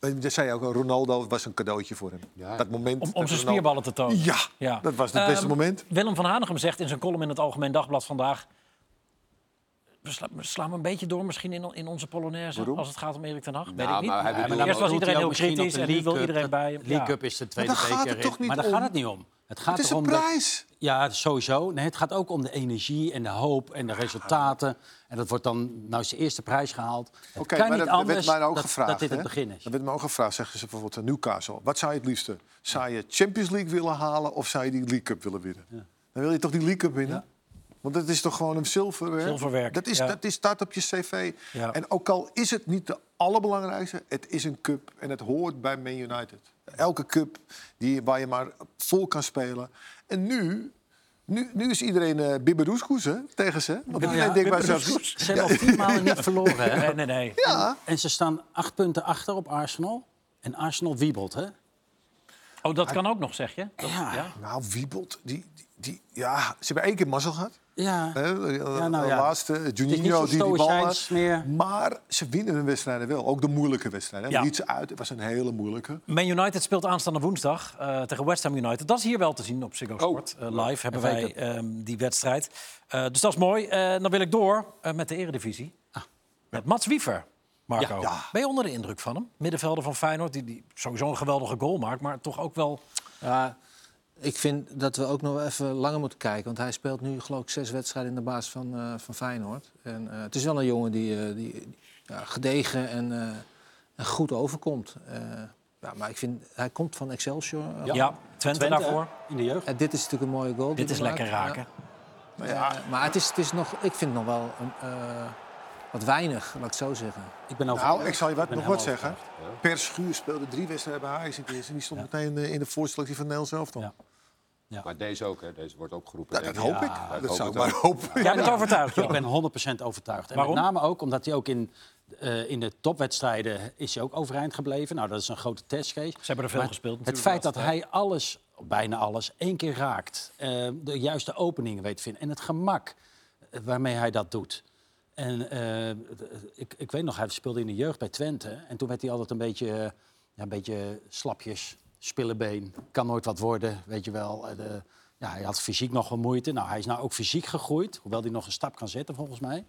S4: eh, dat zei je ook, Ronaldo was een cadeautje voor hem. dat moment
S1: Om, om zijn
S4: dat Ronaldo-
S1: spierballen te tonen.
S4: Ja, dat was het beste
S1: Ehm,
S4: moment.
S1: Willem van Hanegem zegt in zijn column in het Algemeen Dagblad vandaag... We sla- we slaan we een beetje door misschien in, in onze Polonaise als het gaat om Erik ten Hag. Weet
S2: Nou,
S1: ik niet.
S2: maar hij bedoelt-
S1: maar eerst was
S3: Doet hij
S1: iedereen
S3: ook
S1: heel
S3: misschien op
S1: kritisch
S3: de
S1: en nu wil
S3: League Cup.
S1: iedereen bij hem.
S3: De League
S1: Ja.
S3: Cup is de tweede
S4: daar gaat
S3: beker
S4: het
S3: in.
S4: toch niet
S3: Maar daar
S4: om?
S3: gaat het niet om. Het gaat
S4: Het is
S3: erom
S4: een
S3: dat-
S4: prijs.
S3: Ja, sowieso. Nee, het gaat ook om de energie en de hoop en de resultaten. En dat wordt dan, nou is de eerste prijs gehaald. Het
S4: Oké,
S3: kan
S4: maar
S3: niet
S4: dat
S3: anders
S4: werd mij ook
S3: dat,
S4: gevraagd.
S3: dat dit het
S4: hè?
S3: begin is.
S4: Dat werd mij ook gevraagd, zeggen ze bijvoorbeeld aan Newcastle. Wat zou je het liefste? Zou je Champions League willen halen of zou je die League Cup willen winnen? Dan wil je toch die League Cup winnen? Want dat is toch gewoon een zilver, hè?
S1: Zilverwerk,
S4: Dat, is,
S1: ja.
S4: dat is, staat op je cv.
S1: Ja.
S4: En ook al is het niet de allerbelangrijkste, het is een cup. En het hoort bij Man United. Elke cup die, waar je maar vol kan spelen. En nu... Nu, nu is iedereen eh Bibberoeskoes hè, tegen ze. Want
S3: Oh,
S4: iedereen denkt bij zichzelf...
S1: Bibberoeskoes.
S3: Ze hebben al tien maanden niet verloren. Hè?
S1: Nee, nee, nee.
S4: Ja,
S3: En ze staan acht punten achter op Arsenal. En Arsenal wiebelt, hè?
S1: Oh, dat kan ook nog, zeg je? Dat-
S3: Ja.
S4: Nou, Wiebold, die, die, die- ja, ze hebben één keer mazzel gehad.
S3: Ja.
S4: Hè,
S3: Ja, nou
S4: de
S3: ja.
S4: laatste,
S3: niet zo
S4: Juninho, die die bal
S3: stoïcijns
S4: had.
S3: meer.
S4: Maar ze winnen hun wedstrijden wel. Ook de moeilijke wedstrijden.
S1: Ja.
S4: Ja. Leeds uit, het was een hele moeilijke.
S1: Man United speelt aanstaande woensdag eh, tegen West Ham United. Dat is hier wel te zien op Ziggo Sport. Eh, live hebben wij ehm, die wedstrijd. Eh, dus dat is mooi. Eh, dan wil ik door eh, met de eredivisie. Met Mats Wiever, Marco.
S3: Ja.
S1: Ben je onder de indruk van hem? Middenvelder van Feyenoord, die, die sowieso een geweldige goal maakt... maar toch ook wel...
S5: Ja, ik vind dat we ook nog even langer moeten kijken. Want hij speelt nu geloof ik zes wedstrijden in de baas van, eh, van Feyenoord. En, eh, het is wel een jongen die, eh, die ja, gedegen en, eh, en goed overkomt. Eh, Ja, maar ik vind, hij komt van Excelsior. eh,
S1: Ja, Twente,
S3: Twente, eh,
S1: daarvoor.
S3: hè, In de jeugd.
S5: En dit is natuurlijk een mooie goal. die
S1: Dit is
S5: hij
S1: lekker
S5: maakt.
S1: raken.
S5: Ja. Eh, maar het is, het is nog, ik vind het nog wel een, eh, wat weinig, laat ik het zo zeggen.
S3: Ik ben over...
S4: Nou, ik zal je wat,
S3: ben
S4: nog wat
S3: helemaal
S4: zeggen. Per Schuur speelde drie wedstrijden bij Ajax in het eerste. En die stond meteen eh, in de voorselectie van Nederland zelf.
S3: Ja.
S4: Ja.
S2: Maar deze ook, hè? Deze wordt ook geroepen.
S4: Dat,
S2: denk ik.
S4: hoop ik.
S2: Ja,
S4: dat
S2: hoop
S4: zou ik
S2: het
S4: maar
S2: ook.
S4: hopen.
S1: Jij bent overtuigd,
S3: Ik
S1: Johan.
S3: ben 100% overtuigd. En
S1: Waarom?
S3: met name ook omdat hij ook in, eh, in de topwedstrijden is hij ook overeind gebleven. Nou, dat is een grote test, Kees. Ze
S1: hebben er veel gespeeld
S3: Het
S1: natuurlijk
S3: feit
S1: de
S3: dat hij alles, bijna alles, één keer raakt. eh, de juiste openingen weet te vinden. En het gemak waarmee hij dat doet. En eh, ik, ik weet nog, hij speelde in de jeugd bij Twente. En toen werd hij altijd een beetje, eh, ja, een beetje slapjes, spillebeen. Kan nooit wat worden, weet je wel. Eh, de- ja, hij had fysiek nog wel moeite. Nou, hij is nou ook fysiek gegroeid. Hoewel hij nog een stap kan zetten, volgens mij.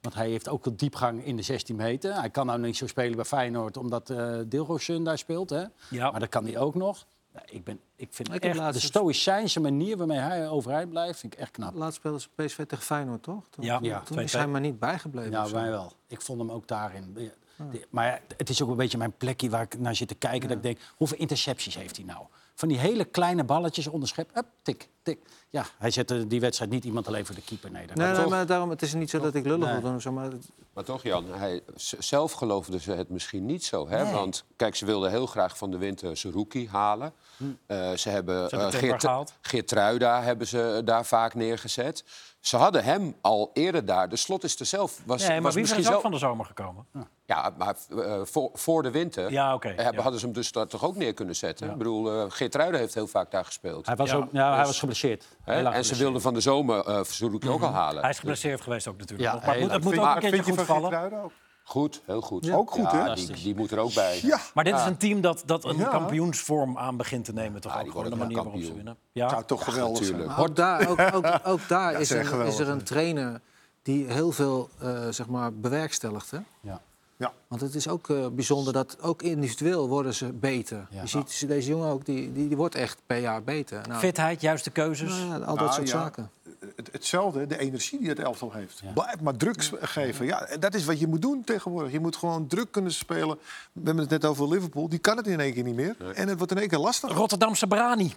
S3: Want hij heeft ook een diepgang in de 16 meter. Hij kan nou niet zo spelen bij Feyenoord, omdat eh Dilrosun daar speelt. Hè?
S1: Ja.
S3: Maar dat kan hij ook nog. Ja, ik, ben, ik vind
S5: Ik heb
S3: echt de
S5: laatst-
S3: stoïcijnse manier waarmee hij overeind blijft, vind ik echt knap.
S5: Laatst speelden ze PSV tegen Feyenoord, toch? Toen,
S1: Ja.
S5: toen,
S1: Ja,
S5: toen is
S1: 2-2.
S5: hij maar niet bijgebleven.
S3: Ja,
S5: of zo. Ah.
S3: wij wel. Ik vond hem ook daarin. Ja, die- Maar ja, het is ook een beetje mijn plekje waar ik naar zit te kijken. Dat ik denk, hoeveel intercepties heeft hij nou? Van die hele kleine balletjes onderschept. Up, tik, tik. Ja, hij zette die wedstrijd niet iemand alleen voor de keeper. Nee, dat
S5: Nee,
S3: kan
S5: nee,
S3: toch.
S5: maar daarom, het is niet zo dat ik lullig wil doen. of zo, Maar het-
S2: Maar toch, Jan, hij, z- zelf geloofde ze het misschien niet zo. Hè? Want kijk, ze wilden heel graag van de winter Zerouki halen.
S1: Hm.
S2: Eh, ze hebben, eh,
S1: Timber gehaald.
S2: Geertruida hebben ze eh, daar vaak neergezet. Ze hadden hem al eerder daar. De slot is er zelf. Was,
S1: Nee, maar
S2: was
S1: wie is
S2: misschien
S1: ook
S2: zelf...
S1: van de zomer gekomen?
S2: Ja, maar eh, voor, voor de winter
S1: Ja, oké,
S2: hebben-
S1: ja.
S2: hadden ze hem dus daar toch ook neer kunnen zetten. Ik bedoel, eh Geertruida heeft heel vaak daar gespeeld.
S3: Hij was,
S1: Ja,
S3: ook, ja, hij dus, was geblesseerd.
S2: Dus- Hè?
S3: Heel lang
S2: En ze
S3: geblesseerd.
S2: wilden van de zomer eh Zerouki ook al halen.
S1: Mhm. Hij is geblesseerd geweest ook natuurlijk.
S3: Ja,
S1: nog, maar het moet, het
S3: heel
S1: moet
S4: Vind-
S1: ook een
S4: maar
S1: keertje
S4: vind
S1: goed
S4: je van
S1: vallen.
S4: Geertruida ook?
S2: Goed, heel goed.
S4: Ja. Ook goed,
S2: Ja,
S4: hè?
S2: Die, die moet er ook bij.
S4: Ja.
S1: Maar dit is een team dat, dat een
S4: Ja.
S1: kampioensvorm aan begint te nemen. Toch
S2: Ja,
S1: ook
S2: die
S1: gewoon de
S2: worden
S1: manier
S2: wel
S1: waarop ze
S2: kampioen.
S1: winnen. Ja,
S4: Zou toch geweldig zijn.
S2: natuurlijk.
S5: Maar ook daar, ook, ook, ook daar is,
S4: zeg
S5: een, is
S4: geweldig,
S5: er een trainer die heel veel eh, zeg maar bewerkstelligt. Hè?
S3: Ja.
S4: Ja.
S5: Want het is ook eh, bijzonder dat ook individueel worden ze beter.
S3: Ja.
S5: Je ziet ze- deze jongen ook, die, die, die wordt echt per jaar beter. Nou,
S1: fitheid, juiste keuzes.
S5: nou ja, al dat
S4: Nou,
S5: soort
S4: ja.
S5: zaken.
S4: Het, hetzelfde, de energie die het elftal heeft. Blijf maar druk s- geven. Ja, en dat is wat je moet doen tegenwoordig. Je moet gewoon druk kunnen spelen. We hebben het net over Liverpool. Die kan het in één keer niet meer. En het wordt in één keer lastig.
S1: Rotterdamse Brani.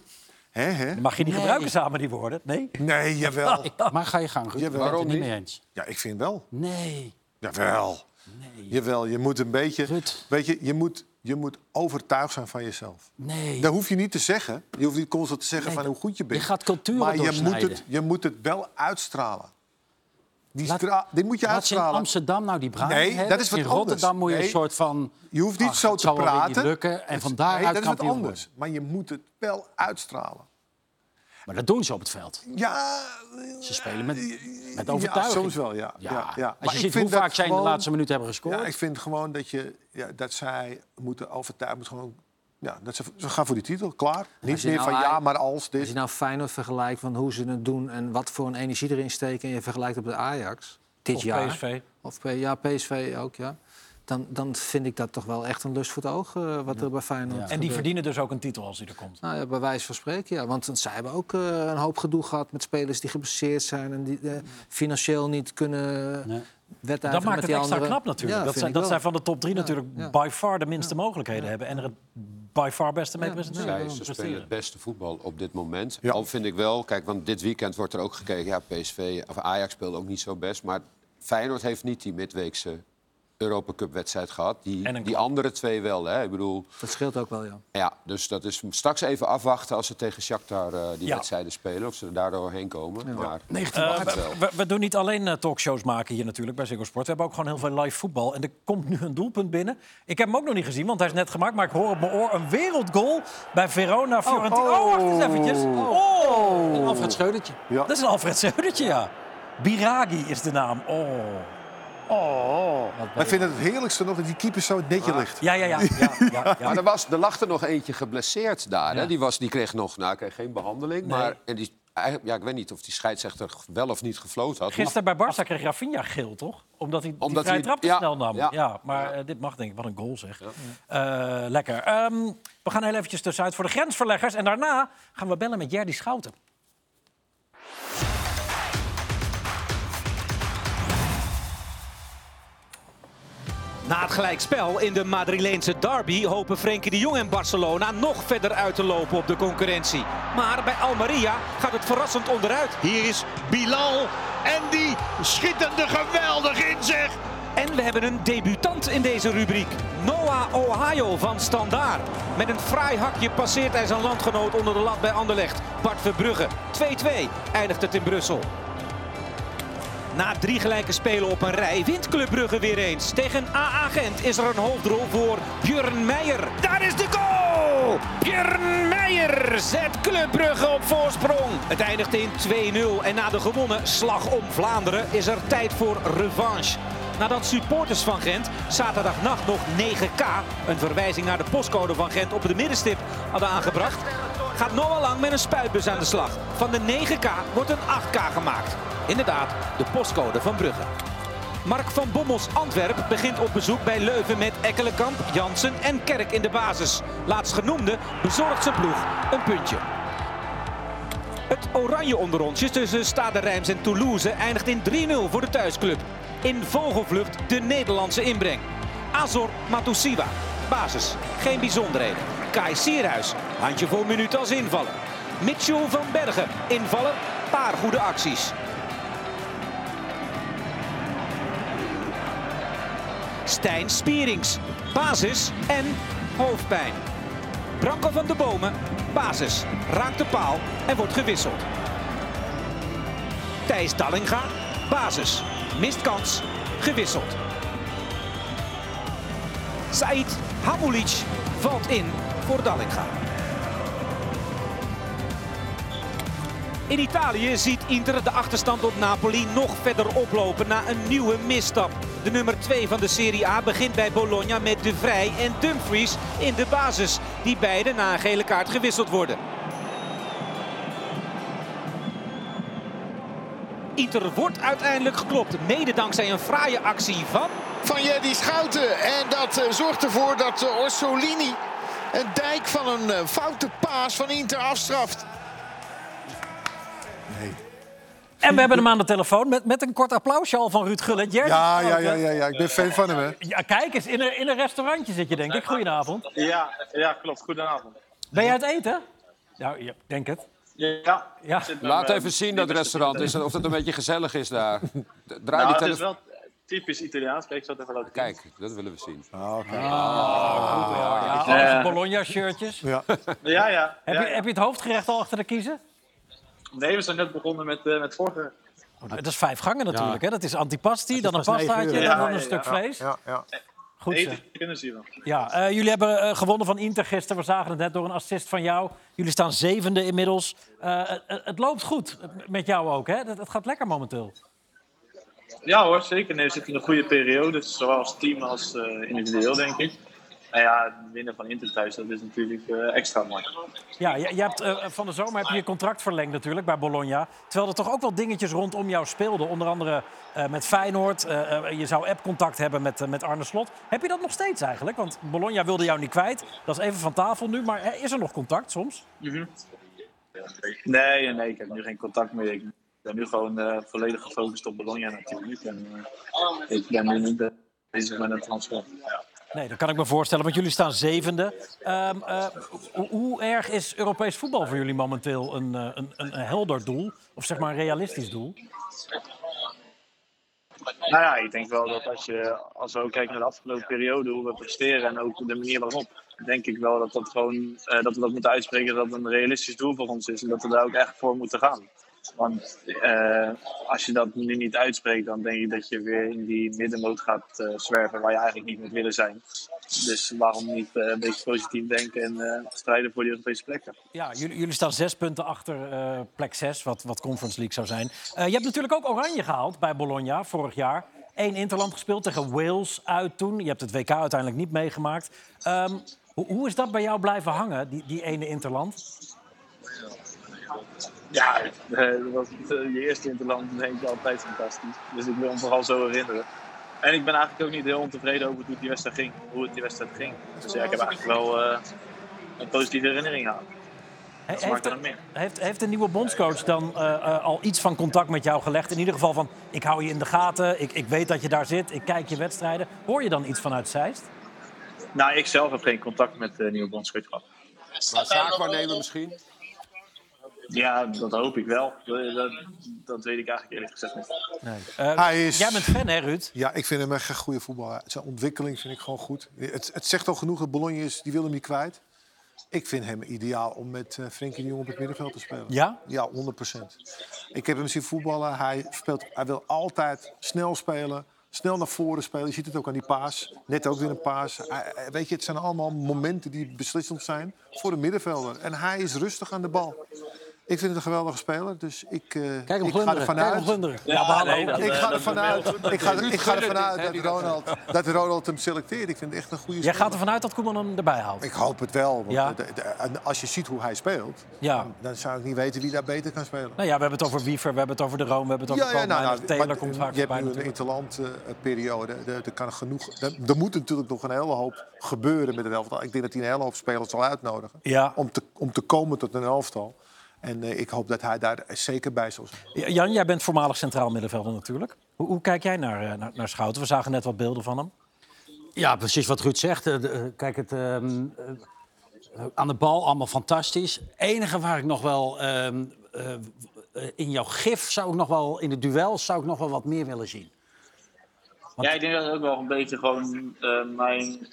S4: Hè, hè?
S1: Mag je niet
S3: Nee.
S1: gebruiken samen die woorden? Nee?
S4: Nee, jawel.
S3: Maar ga je gang, Ruud. Ik ben het
S2: waarom
S3: er niet
S2: niet?
S3: mee eens.
S4: Ja, ik vind wel.
S3: Nee.
S4: Jawel. Jawel, je moet een beetje...
S3: Ruud.
S4: Weet je, je moet, je moet overtuigd zijn van jezelf.
S3: Nee.
S4: Dat hoef je niet te zeggen. Je hoeft niet constant te zeggen
S3: Nee,
S4: van hoe goed je bent.
S3: je gaat culturen
S4: Maar je moet,
S3: doorsnijden.
S4: het, je moet het wel uitstralen. Die,
S3: Laat-
S4: stra- die moet je
S3: Laat ze in
S4: uitstralen.
S3: Amsterdam nou die brani
S4: Nee,
S3: hebben.
S4: dat is wat
S3: in
S4: anders.
S3: Rotterdam moet je een
S4: Nee.
S3: soort van...
S4: Je hoeft niet
S3: ach,
S4: zo
S3: het
S4: te
S3: zal wel weer niet
S4: praten.
S3: lukken. En
S4: Het-
S3: van daaruit
S4: nee, dat is wat
S3: kampioen worden.
S4: anders. Maar je moet het wel uitstralen.
S3: Maar dat doen ze op het veld.
S4: Ja,
S3: Ze spelen met, met
S4: ja
S3: overtuiging.
S4: soms wel, ja.
S3: Ja.
S4: ja. ja, Maar
S3: Als je
S4: ik
S3: ziet
S4: vind
S3: hoe
S4: dat
S3: vaak zij in de
S4: gewoon-
S3: laatste minuut hebben gescoord.
S4: Ja, ik vind gewoon dat, je, ja, dat zij moeten overtuigen. moeten Gewoon, ja, dat ze, ze gaan voor die titel, klaar. Niet
S5: je
S4: meer
S5: nou
S4: van ja,
S5: eigenlijk-
S4: maar als
S5: Als je
S4: dit.
S5: nou Feyenoord vergelijkt van hoe ze het doen en wat voor een energie erin steken... en je vergelijkt op de Ajax dit
S1: Of
S5: jaar...
S1: PSV.
S5: Of P- ja, PSV ook, ja. Dan, dan vind ik dat toch wel echt een lust voor het oog eh, wat er bij Feyenoord
S1: En die
S5: gebeurt.
S1: verdienen dus ook een titel als die er komt.
S5: Nou ja, bij wijze van spreken, ja. Want zij hebben ook eh, een hoop gedoe gehad met spelers die geblesseerd zijn... en die eh, financieel niet kunnen
S3: Nee.
S5: wedijveren
S1: Dat maakt het
S5: met die
S1: extra
S5: anderen.
S1: knap natuurlijk.
S5: Ja,
S1: dat
S5: vind
S1: zij,
S5: ik
S1: dat
S5: wel.
S1: zij van de top drie
S5: Ja,
S1: natuurlijk
S5: ja.
S1: by far de minste mogelijkheden hebben. En er het by far beste mee
S5: Ja,
S1: presenteren.
S5: ja,
S2: Zij,
S5: daarom.
S2: ze spelen het beste voetbal op dit moment.
S4: Ja.
S2: Al vind ik wel, kijk, want dit weekend wordt er ook gekeken. Ja, PSV of Ajax speelde ook niet zo best. Maar Feyenoord heeft niet die midweekse Europa Cup wedstrijd gehad.
S1: En een
S2: Die, die
S1: klap.
S2: andere twee wel, hè? Ik bedoel,
S5: Dat scheelt ook wel, ja.
S2: ja, dus dat is straks even afwachten als ze tegen Shakhtar eh, die
S1: Ja.
S2: wedstrijden spelen. Of ze er daardoor heen komen. Maar,
S1: Eh, we, we- we doen niet alleen eh, talkshows maken hier natuurlijk bij Ziggo Sport. We hebben ook gewoon heel veel live voetbal. En er komt nu een doelpunt binnen. Ik heb hem ook nog niet gezien, want hij is net gemaakt. Maar ik hoor op mijn oor een wereldgoal bij Verona Fiorentina. Oh, wacht eens eventjes. Oh,
S3: Een Alfred Scheudertje.
S4: Ja.
S1: dat is een Alfred Zeudertje, ja. Biragi is de naam. Oh.
S4: Wij vinden het heerlijkste nog dat die keeper zo
S3: Ah.
S4: netje ligt.
S1: Ja, ja, ja. ja, ja, ja.
S2: maar er, was, er lag er nog eentje geblesseerd daar. Hè? Die, was, die kreeg nog nou, kreeg geen behandeling. Maar, en die, eigenlijk- ja, ik weet niet of die scheidsrechter wel of niet gefloten had.
S1: Gisteren bij Barça kreeg Rafinha geel, toch? Omdat hij die
S2: Omdat
S1: vrije
S2: hij-
S1: trap te
S2: ja,
S1: snel nam. Ja,
S2: ja.
S1: maar eh, dit mag denk ik. Wat een goal zeg. Eh, lekker. Ehm, we gaan heel eventjes tussenuit voor de grensverleggers. En daarna gaan we bellen met Jerdy Schouten.
S6: Na het gelijkspel in de Madrileense derby hopen Frenkie de Jong en Barcelona nog verder uit te lopen op de concurrentie. Maar bij Almeria gaat het verrassend onderuit.
S7: Hier is Bilal en die schittende geweldig in zich.
S6: En we hebben een debutant in deze rubriek. Noah Ohio van Standaard. Met een fraai hakje passeert hij zijn landgenoot onder de lat bij Anderlecht. Bart Verbrugge. 2-2 eindigt het in Brussel. Na drie gelijke spelen op een rij wint Club Brugge weer eens. Tegen AA Gent is er een hoofdrol voor Björn Meijer. Daar is de goal! Björn Meijer zet Club Brugge op voorsprong. Het eindigt in 2-0 en na de gewonnen slag om Vlaanderen is er tijd voor revanche. Nadat supporters van Gent zaterdagnacht nog 9K, een verwijzing naar de postcode van Gent op de middenstip, hadden aangebracht, gaat Noah Lang met een spuitbus aan de slag. Van de 9K wordt een 8K gemaakt. Inderdaad, de postcode van Brugge. Mark van Bommels Antwerp begint op bezoek bij Leuven met Ekkelenkamp, Jansen en Kerk in de basis. Laatstgenoemde bezorgt zijn ploeg een puntje. Het oranje onderrondje tussen Stade Reims en Toulouse eindigt in 3-0 voor de thuisclub. In vogelvlucht de Nederlandse inbreng. Azor Matusiwa, basis, geen bijzonderheden. Kai Sierhuis, handje voor minuut als invallen. Mitchell van Bergen, invallen, paar goede acties. Stijn Spierings, basis en hoofdpijn. Branko van de Bomen, basis, raakt de paal en wordt gewisseld. Thijs Dallinga, basis, mist kans, gewisseld. Said Hamulic valt in voor Dallinga. In Italië ziet Inter de achterstand op Napoli nog verder oplopen na een nieuwe misstap. De nummer 2 van de Serie A begint bij Bologna met De Vrij en Dumfries in de basis. Die beide na een gele kaart gewisseld worden. Inter wordt uiteindelijk geklopt, mede dankzij een fraaie actie van...
S7: Van Jeddy Schouten. En dat eh, zorgt ervoor dat eh, Orsolini een dijk van een eh, foute paas van Inter afstraft.
S1: En we hebben hem aan de telefoon met, met een kort applausje al van Ruud Gullit. Jerry
S4: Ja,
S1: Schouten.
S4: ja, ja, ja, ja. Ik ben fan van hem, hè.
S1: Ja, kijk eens, in een, in een restaurantje zit je denk ik. Goedenavond.
S8: Ja, ja klopt. Goedenavond.
S1: Ben jij het eten? Nou, ja, denk het.
S8: Ja.
S1: Ja.
S2: Laat
S8: Eh,
S2: even zien dat restaurant, is, of dat een beetje gezellig is daar. Draai
S8: Nou,
S2: die
S8: het is
S2: telefoon.
S8: wel typisch Italiaans. Kijk, ik zal het even laten
S2: Kijk, dat willen we zien.
S1: Ja, alles in Bologna-shirtjes.
S4: Ja.
S8: zien. Ja, ja.
S1: Heb,
S8: ja,
S1: je-
S8: ja.
S1: heb je het hoofdgerecht al achter de kiezen?
S8: Nee, we zijn net begonnen met, eh met vorige.
S1: Dat is vijf gangen natuurlijk. Hè? Dat is antipasti, dan een
S3: pas negen
S1: pastaatje,
S8: uur.
S1: dan
S8: Ja,
S1: nog een
S8: ja,
S1: stuk
S8: ja.
S1: vlees.
S4: Ja, ja.
S1: Goed zo.
S8: Eten kunnen ze hier wel.
S1: Ja, eh, jullie hebben eh, gewonnen van Inter gisteren. We zagen het net door een assist van jou. Jullie staan zevende inmiddels. Eh, het- het loopt goed met jou ook, hè? Het, het gaat lekker momenteel.
S8: Ja hoor, zeker. Nee, we zitten in een goede periode, zowel als team als eh, individueel, denk ik. Nou ja, winnen van Inter thuis, dat is natuurlijk eh, extra mooi.
S1: Ja, je, je hebt, eh, van de zomer heb je je contract verlengd natuurlijk bij Bologna. Terwijl er toch ook wel dingetjes rondom jou speelden. Onder andere eh, met Feyenoord. Eh, eh, je zou app-contact hebben met, eh, met Arne Slot. Heb je dat nog steeds eigenlijk? Want Bologna wilde jou niet kwijt. Dat is even van tafel nu. Maar eh, is er nog contact soms?
S8: Nee, nee, ik heb nu geen contact meer. Ik ben nu gewoon eh, volledig gefocust op Bologna natuurlijk. En, eh, ik ben nu niet bezig met een transfer.
S1: Nee, dat kan ik me voorstellen, want jullie staan zevende. Ehm, eh, hoe, hoe erg is Europees voetbal voor jullie momenteel een, eh, een, een een helder doel? Of zeg maar een realistisch doel?
S8: Nou ja, ik denk wel dat als, je, als we ook kijken naar de afgelopen periode, hoe we presteren en ook de manier waarop, denk ik wel dat, dat, gewoon, eh, dat we dat moeten uitspreken dat het een realistisch doel voor ons is en dat we daar ook echt voor moeten gaan. Want eh, als je dat nu niet uitspreekt, dan denk ik dat je weer in die middenmoot gaat eh, zwerven waar je eigenlijk niet moet willen zijn. Dus waarom niet eh, een beetje positief denken en eh, strijden voor die Europese plekken?
S1: Ja, jullie, jullie staan zes punten achter eh, plek zes, wat, wat Conference League zou zijn. Eh, je hebt natuurlijk ook Oranje gehaald bij Bologna vorig jaar. Eén interland gespeeld tegen Wales uit toen. Je hebt het WK uiteindelijk niet meegemaakt. Ehm, hoe, hoe is dat bij jou blijven hangen, die, die ene interland?
S8: Ja, eh, dat was, eh, je eerste interland denk ik altijd fantastisch. Dus ik wil hem vooral zo herinneren. En ik ben eigenlijk ook niet heel ontevreden over hoe die wedstrijd ging. Hoe het die wedstrijd ging. Dus ja, ik heb eigenlijk wel eh, een positieve herinnering aan.
S1: He-
S8: Dat maakt
S1: Heeft
S8: er
S1: de,
S8: een min.
S1: heeft, heeft de nieuwe bondscoach dan eh, eh, al iets van contact met jou gelegd? In ieder geval van, ik hou je in de gaten, ik, ik weet dat je daar zit, ik kijk je wedstrijden. Hoor je dan iets vanuit Zeist?
S8: Nou, ik zelf heb geen contact met de nieuwe bondscoach gehad.
S2: Maar zaakwaarnemer misschien?
S8: Ja, dat hoop ik wel. Eh, Dat, dat weet ik eigenlijk eerlijk gezegd niet.
S1: Eh,
S4: Hij is-
S1: Jij bent fan, hè, Ruud?
S4: Ja, ik vind hem echt een goede voetballer. Zijn ontwikkeling vind ik gewoon goed. Het, het zegt al genoeg dat Bologna is, die wil hem niet kwijt. Ik vind hem ideaal om met eh Frenkie de Jong op het middenveld te spelen.
S1: Ja?
S4: Ja, 100%. Ik heb hem zien voetballen. Hij, speelt, hij wil altijd snel spelen. Snel naar voren spelen. Je ziet het ook aan die paas. Net ook weer een paas. Hij- hij- weet je, het zijn allemaal momenten die beslissend zijn voor een middenvelder. En hij is rustig aan de bal. Ik vind het een geweldige speler. Dus ik, eh,
S3: Kijk hem
S4: ik ga
S3: glunderen.
S4: ervan
S3: Kijk hem
S4: uit.
S3: glunderen.
S1: Ja, maar hallo.
S8: nee, dat-
S4: Ik
S8: eh,
S4: ga
S8: dat
S4: ervan
S8: doet mij wel
S4: uit, ik ga, er- ik ga ervan
S6: gunnen het,
S4: uit
S6: hè,
S4: dat, Ronald, dat Ronald hem selecteert. Ik vind het echt een goede
S1: Jij
S4: speler.
S1: gaat ervan uit dat Koeman hem erbij houdt?
S4: Ik hoop het wel. Want
S1: Ja.
S4: de- de- en als je ziet hoe hij speelt,
S1: Ja.
S4: dan zou ik niet weten wie daar beter kan spelen.
S1: Nou ja, we hebben het over Wiever, we hebben het over de Room, we hebben het over Koopmeiners. Taylor
S4: nou, maar eh,
S1: komt vaak
S4: je hebt
S1: voorbij
S4: nu een
S1: natuurlijk.
S4: interlandperiode. Er, er kan genoeg. Er, er moet natuurlijk nog een hele hoop gebeuren met het elftal. Ik denk dat hij een hele hoop spelers zal uitnodigen
S1: Ja.
S4: om, te, om te komen tot een elftal. En eh, ik hoop dat hij daar zeker bij zal zijn.
S1: Ja, Jan, jij bent voormalig centraal middenvelder natuurlijk. Hoe, hoe kijk jij naar, eh, naar, naar Schouten? We zagen net wat beelden van hem.
S3: Ja, precies wat Ruud zegt. Eh, de, eh, Kijk, het, ehm, eh, aan de bal allemaal fantastisch. enige waar ik nog wel ehm, eh, eh, in jouw gif zou ik nog wel in het duel zou ik nog wel wat meer willen zien.
S8: Ja, ik denk dat het ook wel een beetje gewoon eh, mijn...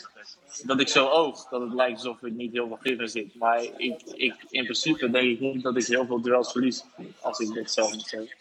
S8: Dat ik zo oog, dat het lijkt alsof ik niet heel veel gif in zit. Maar ik, ik, in principe denk ik niet dat ik heel veel duels verlies als ik dit zelf moet zeggen.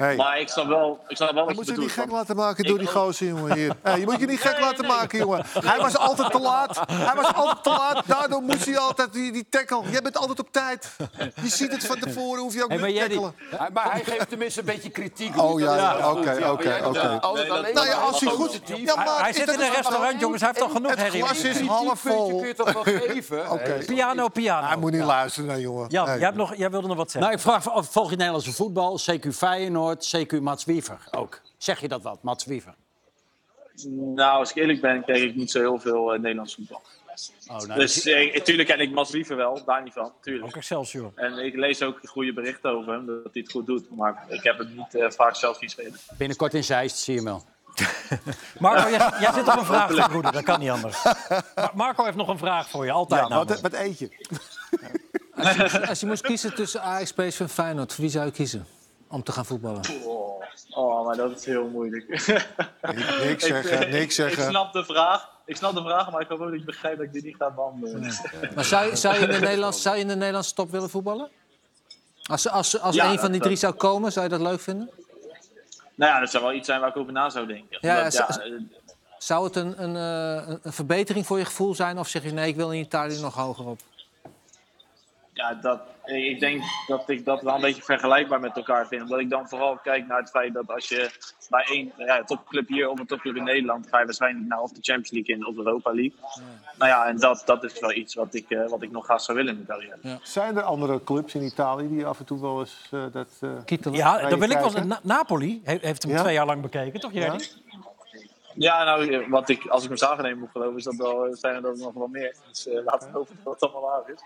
S4: Hey.
S8: Maar ik snap wel, ik snap
S4: Dan
S8: wel wat
S4: moet
S8: je
S4: je niet
S8: bedoelt.
S4: gek
S8: want-
S4: laten maken door
S8: Ik
S4: die
S8: ook.
S4: gozer, jongen. Hier. Hé, je moet je niet gek laten maken, jongen. Hij was altijd te laat. Hij was altijd te laat. Daardoor moest hij altijd die, die tackle. Jij bent altijd op tijd. Je ziet het van tevoren, hoef je ook
S3: Hey,
S4: niet te
S3: maar Jerry,
S4: tackelen.
S2: Hij- Maar hij geeft tenminste een beetje kritiek.
S4: Oh,
S2: Niet
S4: ja,
S2: alleen
S4: ja,
S2: maar goed.
S4: oké,
S2: Ja,
S4: oké,
S2: maar jij
S4: oké.
S2: bent altijd
S8: Nee,
S2: alleen
S8: dat-
S4: Nou ja,
S2: maar
S4: als hij goed...
S2: positief.
S4: Ja, maar
S1: Hij zit
S4: dat
S1: in een
S4: is-
S1: restaurant, jongens. Hij heeft al genoeg
S4: Het
S1: herrie.
S4: glas is
S2: Kritiek
S4: half
S2: vind je,
S4: vol.
S2: kun je toch wel geven?
S4: Oké.
S2: Hè?
S1: Piano, piano.
S4: Hij moet niet luisteren naar jongen.
S1: Jan,
S4: Nee.
S1: jij, hebt nog, jij wilde nog wat zeggen.
S3: Nou, ik vraag of volg je Nederlandse voetbal, CQ Feyenoord, CQ Mats Wiever ook. Zeg je dat wat, Mats Wiever?
S8: Nou, als ik eerlijk ben, kijk ik niet zo heel veel eh, Nederlands voetbal.
S3: Oh, nou,
S8: Dus eh, tuurlijk ken ik Mas Liever wel, daar niet van,
S1: Ook
S8: tuurlijk.
S1: Excelsior.
S8: En ik lees ook goede berichten over hem, dat hij het goed doet. Maar ik heb het niet eh, vaak zelf zien spelen.
S3: binnenkort in Zeist, zie je hem wel.
S1: Marco, jij, jij zit op een vraag te broeden. Dat kan niet anders. Maar Marco heeft nog een vraag voor je. Altijd
S4: Ja, wat,
S1: namelijk.
S4: wat eet je?
S5: Als je, als je moest kiezen tussen Ajax, PSV en Feyenoord, voor wie zou je kiezen om te gaan voetballen?
S8: Oh, oh, maar dat is heel moeilijk.
S4: Niks zeggen, niks
S8: Ik
S4: zeggen.
S8: snap de vraag, ik snap de vraag, maar ik hoop ook dat je begrijpt dat ik die niet ga behandelen.
S5: Maar zou je, zou je, in, de Nederlandse, zou je in de Nederlandse top willen voetballen? Als, als, als
S8: Ja,
S5: een van die
S8: dat-
S5: drie zou komen, zou je dat leuk vinden?
S8: Nou ja, dat zou wel iets zijn waar ik over na zou denken.
S5: Ja,
S8: Omdat,
S5: ja,
S8: ja,
S5: zo-
S8: eh,
S5: Zou het een, een, eh, een verbetering voor je gevoel zijn? Of zeg je nee, ik wil in Italië nog hoger op?
S8: ja, dat, eh, ik denk dat ik dat wel een beetje vergelijkbaar met elkaar vind. Omdat ik dan vooral kijk naar het feit dat als je bij één ja, topclub hier of een topclub in Nederland... ga je waarschijnlijk naar of de Champions League in of de Europa League. Nou ja, en dat, dat is wel iets wat ik, eh, wat ik nog graag zou willen in mijn carrière.
S4: Zijn er andere clubs in Italië die af en toe wel eens eh, dat... eh,
S5: Kietelen?
S1: Ja,
S4: Waar
S1: dan
S4: je
S1: wil ik wel.
S4: kijkt, hè?
S1: Na- Napoli he- heeft hem
S4: Ja?
S1: twee jaar lang bekeken, toch, Jerry?
S8: Ja, nou, eh, wat ik, als ik mijn zagen neem moet geloven, is dat wel, eh, zijn er dan nog wel meer. Dus eh, laten we hopen dat het allemaal waar is.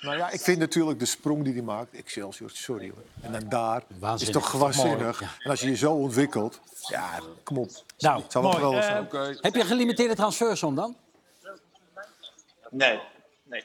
S4: Nou ja, ik vind natuurlijk de sprong die hij maakt, Excelsior, sorry hoor. En dan daar
S3: Waanzinnig.
S4: is toch waanzinnig. En als je je zo ontwikkelt, ja, kom op.
S1: Nou,
S4: Het zou wel
S1: mooi.
S4: geweldig
S1: Eh,
S4: zijn.
S3: Heb je een gelimiteerde transfersom dan?
S8: Nee, nee.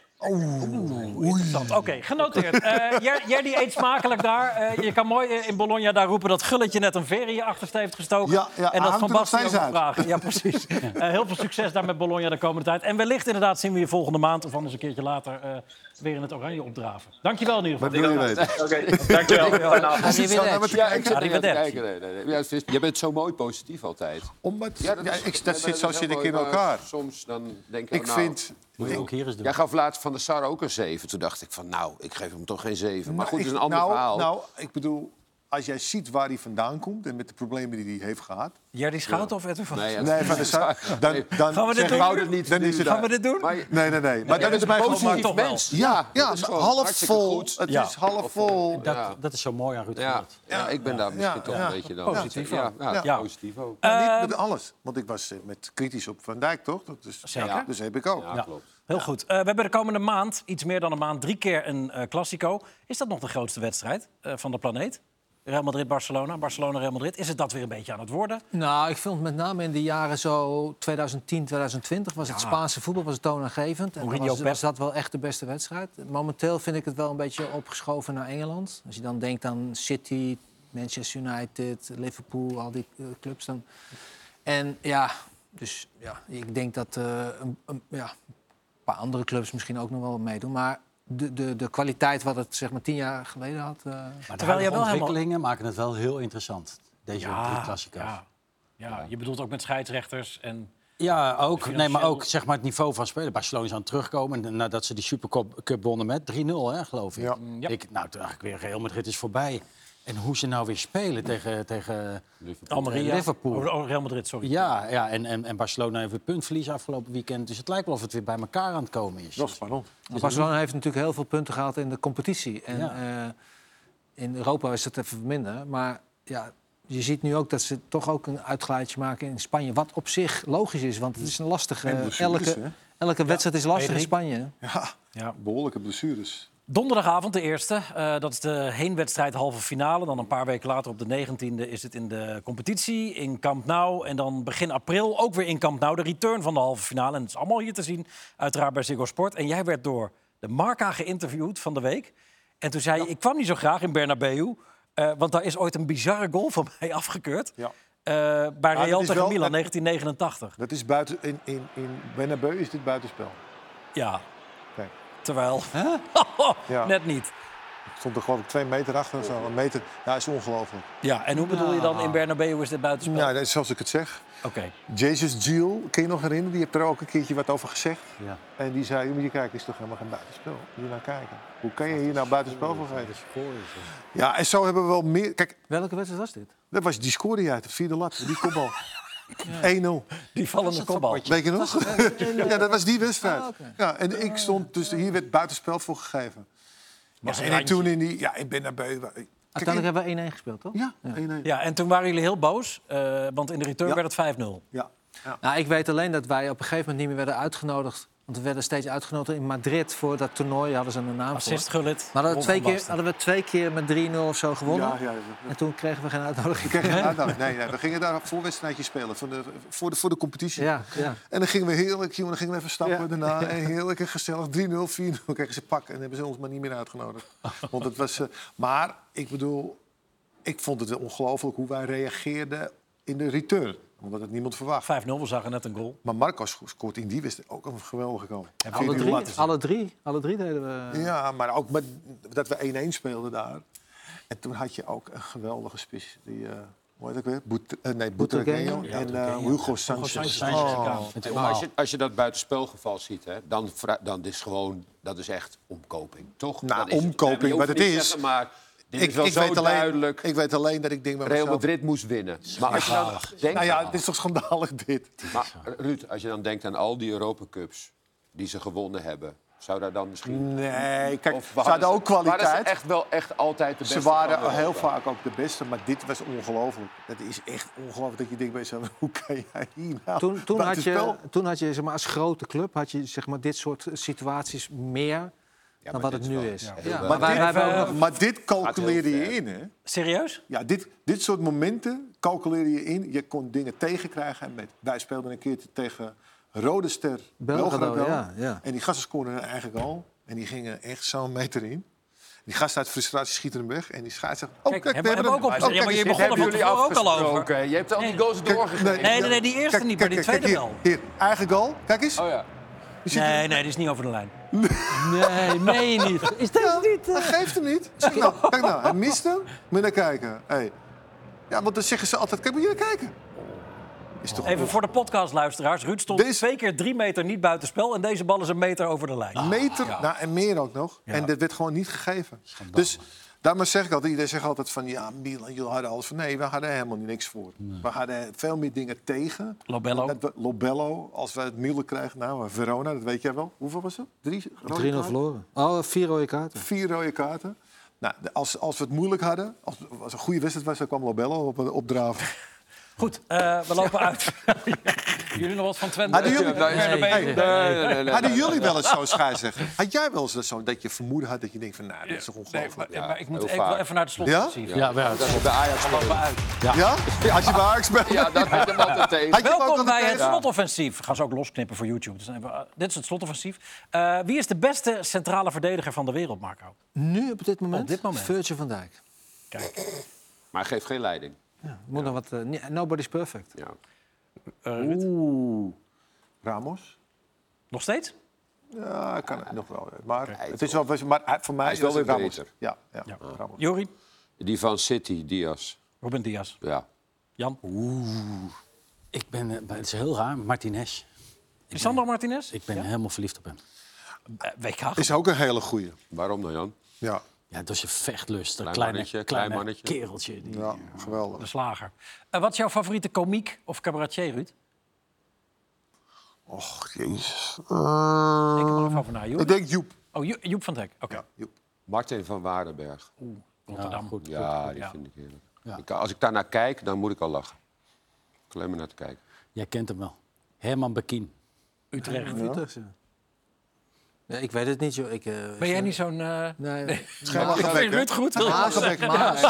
S1: Interessant. Oké, genoteerd. Eh, Jer- Jerry eet smakelijk daar. Eh, je kan mooi eh, in Bologna daar roepen dat Gulletje net een veer in je achterste heeft gestoken.
S4: Ja, ja,
S1: en
S4: hij
S1: dat
S4: hangt
S1: Van
S4: er nog
S1: Basten ook
S4: steeds
S1: nog
S4: uit.
S1: vragen. Ja, precies. Eh, heel veel succes daar met Bologna de komende tijd. En wellicht inderdaad zien we je volgende maand of anders een keertje later eh, weer in het oranje opdraven. Dankjewel in ieder
S4: Wat
S1: geval.
S4: wil je weten?
S8: Oké, dankjewel. Fijne avond.
S5: Arrivederci.
S4: Zo, nou, wat-
S5: Ja,
S4: ik-
S2: Ja, nee,
S1: Arrivederci.
S2: nee, nee, nee. Ja, het is- Je bent zo mooi positief altijd.
S4: Om wat-
S2: Ja,
S4: ja,
S2: dat is-
S4: ik,
S2: ja,
S4: dat
S2: maar
S4: zit, zo
S2: is
S4: zit
S2: heel
S4: ik in
S2: mooi, maar
S4: elkaar.
S2: Soms dan denk ik,
S4: Ik
S2: nou,
S4: vind...
S3: Moet je ook hier eens doen.
S2: Jij gaf laatst Van der Sar ook een 7. Toen dacht ik van, nou, ik geef hem toch geen 7. Maar goed, het is een ander
S4: nou,
S2: verhaal.
S4: Nou, ik bedoel, als jij ziet waar hij vandaan komt en met de problemen die hij heeft gehad...
S1: Jerry Schouten of Edwin van
S2: Nee, ja,
S4: Nee, van de Sar, dan, dan
S1: Gaan we dit doen?
S4: zeg ik-
S2: Ik wou dit niet
S4: Dan
S2: nu
S4: is het-
S2: daar.
S1: Gaan we dit doen?
S2: Maar je-
S4: Nee, nee, nee. Maar
S2: jij
S4: dat
S2: bent
S4: is mijn
S2: een
S4: gevoel.
S1: Maar toch
S2: positief
S1: wel.
S2: mens.
S4: Ja, ja,
S2: dat is gewoon
S4: half
S2: hartstikke
S4: vol.
S2: goed.
S4: Het
S1: Ja.
S4: is half vol.
S3: Dat,
S2: Ja.
S3: dat is zo mooi aan Ruud
S2: Ja,
S3: Gullit.
S2: ja, ik ben daar misschien
S4: ja,
S2: toch
S4: ja.
S2: een beetje dan.
S1: Positief
S2: Ja,
S1: ook.
S2: ja,
S1: Ja.
S2: positief ook.
S1: Ehm,
S4: Maar niet met alles. Want ik was eh, met kritisch op Van Dijk, toch? Dat is,
S1: Zeker.
S4: Ja, Dus heb ik ook.
S2: Ja, klopt.
S1: Heel goed. Eh, we hebben de komende maand, iets meer dan een maand, drie keer een eh Classico. Is dat nog de grootste wedstrijd eh, van de planeet? Real Madrid-Barcelona, Barcelona-Real Madrid. Is het dat weer een beetje aan het worden?
S5: Nou, ik vond met name in de jaren zo 2010, 2020 was het Spaanse voetbal was het toonaangevend. En dan
S1: Mourinho,
S5: was, was
S1: Pep.
S5: dat wel echt de beste wedstrijd. Momenteel vind ik het wel een beetje opgeschoven naar Engeland. Als je dan denkt aan City, Manchester United, Liverpool, al die eh, clubs dan. En ja, dus ja, ik denk dat eh, een, een- ja, een paar andere clubs misschien ook nog wel meedoen. Maar de, de, de kwaliteit wat het zeg maar tien jaar geleden had. eh,
S3: Maar de
S1: Terwijl je
S3: huidige
S1: wel helemaal-
S3: ontwikkelingen maken het wel heel interessant. Deze drie klassiekers.
S1: ja. Ja, je bedoelt ook met scheidsrechters en...
S3: Ja, ook. Nee, maar
S1: financieel-
S3: ook zeg maar, het niveau van spelen. Barcelona is aan het terugkomen en nadat ze die Supercup Cup wonnen met 3-0, hè, geloof ik.
S4: Ja.
S1: ja.
S3: ik. Nou, toen dacht ik weer, Real Madrid is voorbij. En hoe ze nou weer spelen tegen, tegen
S1: Almeria.
S3: Liverpool.
S1: Oh, oh, Real Madrid, sorry.
S3: Ja, ja en, en, en Barcelona heeft weer puntverlies afgelopen weekend. Dus het lijkt wel of het weer bij elkaar aan het komen is.
S4: Jos, pardon.
S5: Maar Barcelona heeft natuurlijk heel veel punten gehaald in de competitie. En
S3: Ja.
S5: eh, in Europa is dat even minder. Maar ja, je ziet nu ook dat ze toch ook een uitglijtje maken in Spanje. Wat op zich logisch is, want het is een lastige...
S4: En blessures,
S5: elke
S4: hè?
S5: elke wedstrijd is lastig in
S1: Pedri.
S5: Spanje.
S4: Ja,
S1: Ja.
S4: behoorlijke blessures.
S1: Donderdagavond de eerste. Eh, dat is de heenwedstrijd halve finale. Dan een paar weken later op de 19e is het in de competitie in Camp Nou. En dan begin april ook weer in Camp Nou. De return van de halve finale. En het is allemaal hier te zien, uiteraard bij Ziggo Sport. En jij werd door de Marca geïnterviewd van de week. En toen zei je, ik kwam niet zo graag in Bernabeu. eh, want daar is ooit een bizarre goal van mij afgekeurd.
S4: Ja.
S1: Eh, bij
S4: dat
S1: Real
S4: is
S1: tegen
S4: wel-
S1: Milan,
S4: dat-
S1: 1989.
S4: Dat is buiten, in, in, in Bernabeu is dit buitenspel.
S1: Ja.
S4: Kijk.
S1: Terwijl,
S4: Ja.
S1: net niet.
S4: Het stond er gewoon op twee meter achter. of zo, Een meter. Ja, is ongelooflijk.
S1: Ja, en hoe bedoel je dan, in Bernabeu is dit buitenspel?
S4: Nou, dat is zoals ik het zeg.
S1: Oké.
S4: Jesus Giel, kun je nog herinneren? Die heeft er ook een keertje wat over gezegd.
S3: Ja.
S4: En die zei, moet je kijken, is toch helemaal geen buitenspel? Moet je nou kijken. Hoe kan je hier nou buitenspel van geven? Ja, en zo hebben we wel meer... Kijk,
S5: Welke wedstrijd was dit?
S4: dat was die scoorde hij uit de vierde lat. Die kopbal. 1-0.
S1: Die vallende kopbal.
S4: Weet je nog? ja, dat was die wedstrijd.
S5: Ah, oké.
S4: Oh, Ja, en ik stond dus... Hier werd buitenspel voor gegeven.
S1: Was een
S4: en
S1: randje.
S4: toen in die... Ja, ik ben naar buiten.
S5: Uiteindelijk hebben we 1-1 gespeeld, toch?
S4: Ja, 1-1.
S1: Ja, en toen waren jullie heel boos, eh, want in de return
S4: Ja.
S1: werd het 5-0.
S4: Ja.
S5: Nou, ik weet alleen dat wij op een gegeven moment niet meer werden uitgenodigd. Want we werden steeds uitgenodigd in Madrid voor dat toernooi. Hadden ze een naam
S1: Assist
S5: voor.
S1: Gullit.
S5: Maar hadden we,
S1: Ron
S5: twee
S1: van
S5: keer,
S1: Basten.
S5: hadden we twee keer met 3-0 of zo gewonnen.
S4: Ja, ja, ja.
S5: En toen kregen we geen uitnodiging.
S4: Ik kreeg geen uitnodiging. Nee, nee, we gingen daar een voorwedstrijdje spelen voor de, voor de, voor de competitie.
S5: Ja, ja.
S4: En dan gingen we heerlijk, jongen, dan gingen we even stappen daarna. En heerlijk en gezellig. 3-0, 4-0 kregen ze pak. En hebben ze ons maar niet meer uitgenodigd. Want het was, eh, maar ik bedoel, ik vond het wel ongelooflijk hoe wij reageerden in de return. Omdat het niemand verwacht.
S1: 5-0, we zagen net een goal.
S4: Maar Marco sco- scoort in die wedstrijd ook een geweldige goal.
S5: Alle
S4: 4-0
S5: drie,
S4: laten zien.
S5: alle drie, alle drie deden we.
S4: Ja, maar ook met, dat we 1-1 speelden daar. En toen had je ook een geweldige spits. Die, eh hoe heet ik weer? Boet, eh, nee, Boetregueño
S5: Boetregueño.
S4: en eh, Hugo Sanchez.
S3: Sanchez,
S4: Oh.
S3: ja. Het
S2: Maar
S3: is
S2: als
S3: allemaal-
S2: je, als je dat buitenspelgeval ziet, hè, dan, vra- dan is gewoon, dat is echt omkoping, toch?
S4: Nou,
S2: Dan is het-
S4: omkoping,
S2: je hoeft
S4: wat het
S2: niet
S4: is.
S2: zeggen, maar dit
S4: Ik,
S2: is wel
S4: ik
S2: zo
S4: weet alleen,
S2: duidelijk.
S4: ik weet alleen dat ik denk bij
S2: Real
S4: mezelf...
S2: Madrid moest winnen. Maar als je dan denkt,
S4: Nou ja, het is toch schandalig dit?
S2: maar, Ruud, als je dan denkt aan al die Europa Cups die ze gewonnen hebben, zou daar dan misschien.
S4: Nee, kijk,
S2: of
S4: Mm. ze
S2: waren
S4: hadden ook
S2: Waren ze
S4: kwaliteit.
S2: echt wel echt altijd de beste.
S4: Ze
S2: van
S4: waren
S2: Europa?
S4: heel vaak ook de beste, maar dit was ongelooflijk. Dat is echt ongelooflijk dat je denkt bij jezelf, hoe kan jij hier nou
S5: Toen, toen, had je,
S4: buitenspel?
S5: toen had je zeg maar, als grote club had je, zeg maar, dit soort situaties meer dan
S2: dit
S5: wat het
S2: is
S5: nu
S2: wel-
S5: is. Ja.
S4: Maar,
S5: maar wij- wij
S4: dit, Eh,
S5: hebben ook nog-
S4: maar dit calculeerde
S2: Gaat heel
S4: je
S2: ver.
S4: in, hè?
S1: Serieus?
S4: Ja, dit, dit soort momenten calculeerde je in. Je kon dingen tegenkrijgen. En met, wij speelden een keer tegen Rode Ster
S5: Belgrado,
S4: Belgrado.
S5: ja, ja.
S4: En die gasten scoorden hun eigen goal. En die gingen echt zo'n meter in. Die gasten uit frustratie schieten hem weg. En die scheids zegt... Oh,
S1: Kijk,
S4: kijk,
S1: hebben-
S4: we hebben
S1: hebben
S4: hem.
S1: we ook op-
S4: Oh,
S1: Ja, maar
S4: kijk,
S1: je
S4: dit
S1: begon
S4: hebben
S1: er van
S4: jullie
S1: tevoren ook al over.
S2: afgesproken. Je hebt al die goals
S4: af-
S2: doorgegeven.
S4: Kijk,
S1: Nee, nee, nee, die eerste niet, maar die
S4: kijk,
S1: tweede
S4: hier,
S1: wel.
S4: Hier, eigen goal. Kijk eens.
S2: ja.
S4: Je ziet
S1: Nee, nee, die is niet over de lijn.
S5: Nee, meen je niet. Is dat niet?
S4: Dat geeft hem niet. Zie je nou, kijk nou, hij mist hem. Moet je naar kijken. Hey. Ja, want dan zeggen ze altijd... Kijk, moet je naar kijken. Is toch
S1: Even voor de podcastluisteraars. Ruud stond
S4: Deze-
S1: twee keer drie meter niet buitenspel. En deze bal is een meter over de
S5: Ah.
S1: lijn.
S4: meter, nou, en meer ook nog. En dat werd gewoon niet gegeven. Dus daarom zeg ik altijd, iedereen zegt altijd van... ja, Milan, jullie hadden alles van... nee, we hadden helemaal niks voor. We hadden veel meer dingen tegen.
S1: Lobello.
S4: Dat we- Lobello, als we het moeilijk krijgen. Nou, Verona, dat weet jij wel. Hoeveel was het? Drie rode
S5: 3-0
S4: kaarten?
S5: verloren. Oh, vier rode kaarten.
S4: Vier rode kaarten. eh, Nou, de- als, als we het moeilijk hadden, als, als een goede wedstrijd was... dan kwam Lobello op, opdraven.
S1: Goed, eh, we lopen uit. Jullie nog wat van Twente?
S4: Hadden jullie-
S1: Nee, nee, nee.
S2: nee, nee.
S4: Hadden jullie wel eens zo'n scheidsrechter? Had jij wel eens zo'n dat je vermoeden had dat je denkt van, nou, dit is toch
S1: Nee, maar,
S4: ongelooflijk?
S1: maar ik moet
S2: heel
S1: ik wil
S2: vaak.
S1: even naar de slot
S4: Ja?
S1: zien.
S3: Ja, wel.
S2: Dat is bij Ajax wel.
S4: Ja? Als je bij Ajax bent.
S2: Ja, dat moet hem altijd tegen.
S4: Had je hem ook
S1: Welkom
S4: altijd
S1: bij het
S4: tegen?
S1: slotoffensief. Gaan ze ook losknippen voor YouTube. Dus dan hebben we, eh, dit is het slotoffensief. Eh, wie is de beste centrale verdediger van de wereld, Marco?
S5: Nu op dit moment?
S1: Op dit moment.
S5: Virgil van Dijk.
S2: Maar hij geeft geen leiding.
S5: Ja, moet nog wat, eh, nee, nobody's perfect.
S2: Ja.
S4: Oeh. Ramos?
S1: Nog steeds?
S4: Ja, kan het nog wel. Maar, het is wel, maar hij- voor mij
S2: Hij is wel
S4: was het
S2: weer
S4: Ramos.
S2: beter.
S4: Ja, ja, Ramos.
S1: Jori,
S2: Die van City, Diaz.
S1: Ruben Diaz,
S2: Ja.
S1: Jan.
S3: Ik ben, eh, bij- het is heel raar, Martinez.
S1: Lisandro Martinez?
S3: Ik ben helemaal verliefd op hem.
S1: Eh, WK.
S4: Is ook een hele goeie.
S2: Waarom nou, Jan?
S4: Ja,
S3: Ja, dat is je vechtlust. Een
S2: Klein
S3: kleine,
S2: mannetje, klein
S3: kleine
S2: mannetje.
S3: kereltje. Die,
S4: ja
S1: De
S4: geweldig.
S1: slager. Eh, wat is jouw favoriete komiek of cabaretier, Ruud?
S4: Och, jezus.
S1: Denk
S4: Eh,
S1: er maar even over na, Joep.
S4: Ik denk Joep.
S1: Oh, Jo- Joep van Dijk. Oké,
S4: Ehm, Ja, Joep.
S2: Martin van Waardenberg.
S1: Rotterdam. goed.
S2: Ja, die
S1: ja.
S2: vind ik heerlijk. Ik kan- als ik daar naar kijk, dan moet ik al lachen. Ik kan alleen maar naar te kijken.
S3: Jij kent hem wel. Herman Bekien.
S1: Utrecht.
S5: Utrecht, ja. Ja, ik weet het niet, joh. Ik, eh,
S1: Ben jij niet zo'n... eh
S5: Nee,
S1: Ik vind Ruud goed.
S5: Hazenbeek, Maas.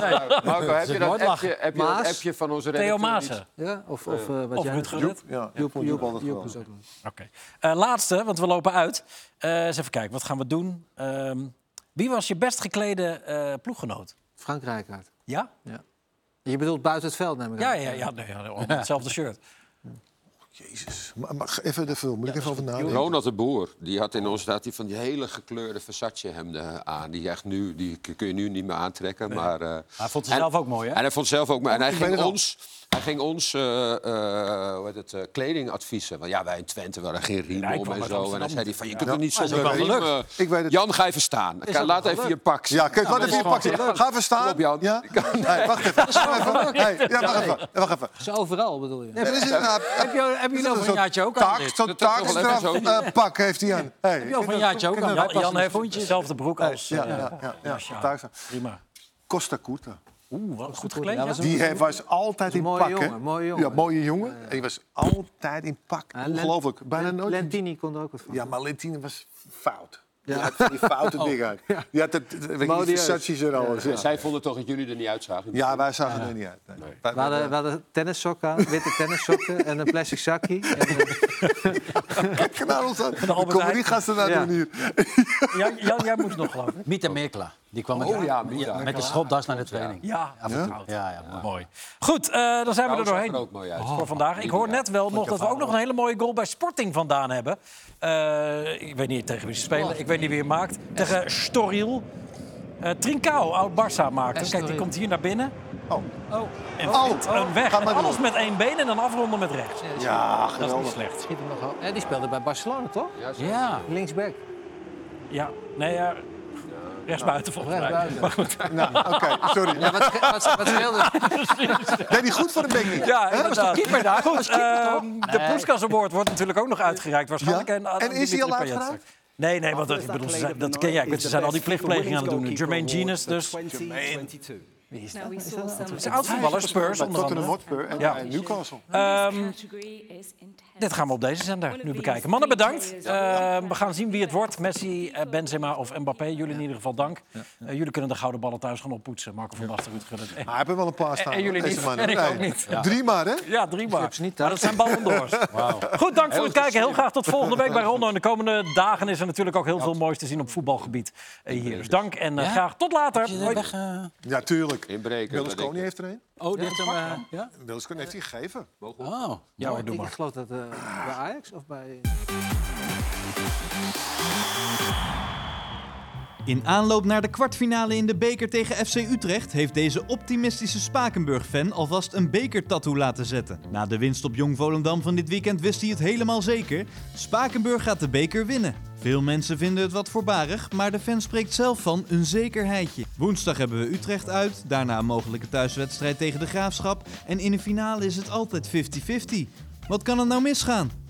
S2: Marco, heb je dat
S5: nooit lachen.
S2: appje, heb je dat
S5: Maas?
S2: appje van onze
S1: Theo
S2: redacteur? niet?
S1: Maassen.
S5: Ja, of, of eh, wat
S1: Of
S5: jij...
S1: Ruud Gullit.
S4: Ja, ik
S5: Joep,
S4: vond Joep
S5: Joep,
S4: altijd
S5: Joep
S4: geweldig.
S5: is ook nog.
S1: Oké. Eh, laatste, want we lopen uit. Eh, eens even kijken, wat gaan we doen? Ehm, wie was je best geklede eh, ploeggenoot?
S5: Frankrijk uit.
S1: Ja?
S5: Je bedoelt buiten het veld, neem ik
S1: Ja,
S5: aan.
S1: ja, ja. Nee, ja, onder hetzelfde shirt.
S4: Jezus. Maar, maar even, even, moet ik even over nadenken?
S2: Ronald de Boer, die had in ons staat die van die hele gekleurde Versace hemden aan. Die, echt nu, die k- kun je nu niet meer aantrekken. Maar, eh,
S3: Hij vond ze
S2: en-
S3: zelf ook mooi, hè?
S2: En hij vond zelf ook mooi. En hij
S4: Oh, weet
S2: ging
S4: het al.
S2: ons, hij ging ons eh, eh, hoe heet het, eh, kledingadviezen. Want ja, wij in Twente waren geen riem
S1: hij
S2: om
S1: kwam
S2: en
S1: uit
S2: zo. En
S1: Amsterdam.
S2: dan zei hij van, je kunt
S4: Ja.
S2: er niet
S4: Hij is
S2: zonder
S4: ook wel
S2: riem.
S4: gelukt.
S2: eh,
S4: Ik weet het.
S2: Jan, ga even staan. Ik kan- Laat even je pak zien.
S4: Ja, kijk, wat even je
S3: gewoon
S4: pakje. Ga even staan.
S2: Kom op, Jan.
S4: Ja? Hey, wacht even. Wacht even. Hey, ja, wacht even. Wacht even.
S5: Ze Dus overal, bedoel je?
S4: Nee, maar dit is inderdaad-
S3: Heb je, heb
S4: Dit
S3: je
S4: is
S3: nou
S4: een
S3: van Jaatje ook aan
S4: taak,
S3: dit?
S4: Zo'n
S2: Dat is toch wel
S4: taakstraf
S2: even
S4: eh, pak heeft hij aan. Hey,
S3: Heb je al van Jaatje ook aan?
S1: Jan, Jan heeft
S3: Vondje.
S1: dezelfde broek als...
S4: Ja,
S1: eh,
S4: ja, ja, ja,
S1: Martial.
S4: taakstraf.
S1: Prima.
S4: Costa Curta.
S1: Oeh, wat goed gekleed.
S5: Ja,
S1: Ja,
S5: was
S4: Die he- was altijd in
S5: mooie
S4: pak, hè?
S5: jongen, mooie jongen.
S4: Ja, mooie jongen. En die was altijd in pak.
S5: Ja, Len-
S4: Ongelooflijk. Bijna
S5: Len-
S4: nooit.
S5: Lentini kon er ook wat van.
S4: Ja, maar Lentine was fout. Die had van die foute
S1: Oh,
S4: dingen uit. Die had het, het- weet je, die
S5: Modieus.
S4: Versace's en alles. Ja,
S2: Zij vonden toch dat jullie er niet uitzagen?
S4: Ja, wij zagen er niet uit. nee. Wij-
S5: We hadden, we hadden tennissokken aan, witte tennissokken en een plastic zakje. En, eh,
S4: Kijk naar ons aan.
S1: Albert
S4: Komen
S1: Heijn.
S4: die gasten naar
S5: Ja.
S4: doen hier?
S1: Jan, Jan, jij moest nog geloven.
S3: Mieter Merkla. Die kwam met,
S2: Oh ja, Mieter.
S3: met de stropdas naar de training.
S1: Ja, ja,
S3: Ja, ja, mooi.
S1: mooi. Goed, eh, dan zijn we er
S2: Trouwens, Nou, zag er
S1: doorheen Oh,
S2: ook mooi uit.
S4: Oh,
S1: voor vandaag. Ik hoor net wel nog dat we ook nog een hele mooie goal bij Sporting vandaan hebben. Eh, ik weet niet tegen wie ze spelen, ik weet niet wie het maakt. Tegen Storiel. Eh Trincao, oud-Barça maakt. Kijk, die
S5: Estoril.
S1: komt hier naar binnen.
S4: Oh.
S1: En
S4: Oh,
S1: vindt een
S4: oh,
S1: weg.
S4: ga
S1: En
S4: maar door.
S1: alles met één been en dan afronden met rechts.
S4: Ja,
S1: Dat is niet
S4: geweldig.
S1: slecht.
S5: schiet hem nog wel. Eh, die speelde bij Barcelona, toch?
S3: Ja.
S5: Linksback.
S1: Ja, nee, ja. Rechtsbuiten volgens mij.
S5: Rechtsbuiten.
S1: Maar goed.
S4: Nou, oké, sorry.
S5: Ja, wat, sche- wat, wat scheelde?
S4: Nee, die goed voor de denk ik.
S1: Ja, dat was de keeper daar. Goed, ehm, de
S3: Nee.
S1: Puskas Award wordt natuurlijk ook nog uitgereikt waarschijnlijk.
S4: Ja?
S1: ah,
S4: En is die
S1: Dimitri
S4: al
S1: Payet.
S4: uitgereikt?
S1: Nee, nee, want dat, ik bedoel, ze zijn- dat ken jij. Ik bedoel, Ze zijn al die plichtplegingen aan het doen. Jermaine Genius dus. Het
S9: Now we saw
S1: is een
S9: some
S1: oud-voetballer, Spurs
S4: Bij
S1: onder
S4: Tottenham
S1: andere.
S4: Hotspur en
S1: Ja.
S4: en Newcastle.
S9: Um, category is intense.
S1: Ehm, Dit gaan we op deze zender nu bekijken. Mannen, bedankt. Ehm, we gaan zien wie het wordt. Messi, eh, Benzema of Mbappé. Jullie in ieder geval dank. Eh, jullie kunnen de gouden ballen thuis gaan oppoetsen. Marco van Basten, Ruud Gullit. Eh,
S4: Maar hebben wel een paar staan.
S1: en jullie
S4: deze
S1: niet.
S4: man.
S1: En ik
S4: Nee.
S1: ook niet.
S4: Drie maar, hè?
S1: Ja, drie maar.
S5: ze niet
S1: Maar dat zijn ballon d'ors. Goed, dank voor het kijken. Heel graag tot volgende week bij Rondo. En de komende dagen is er natuurlijk ook heel veel moois te zien op voetbalgebied eh, hier. Dus dank en eh,
S3: Ja?
S1: graag tot later. Hoi.
S3: Weg, eh,
S4: Ja, tuurlijk.
S2: Inbreken. dat
S4: Berlusconi
S2: ik-
S4: heeft er een.
S3: oh, die heeft hem... eh, ja?
S4: Berlusconi heeft hij gegeven.
S3: Oh, ja,
S5: ik,
S1: doe
S5: ik
S1: maar.
S5: geloof dat eh, bij Ajax of bij...
S10: In aanloop naar de kwartfinale in de beker tegen FC Utrecht heeft deze optimistische Spakenburg-fan alvast een bekertattoo laten zetten. Na de winst op Jong Volendam van dit weekend wist hij het helemaal zeker. Spakenburg gaat de beker winnen. Veel mensen vinden het wat voorbarig, maar de fan spreekt zelf van een zekerheidje. Woensdag hebben we Utrecht uit, daarna een mogelijke thuiswedstrijd tegen de Graafschap en in de finale is het altijd 50-50. Wat kan er nou misgaan?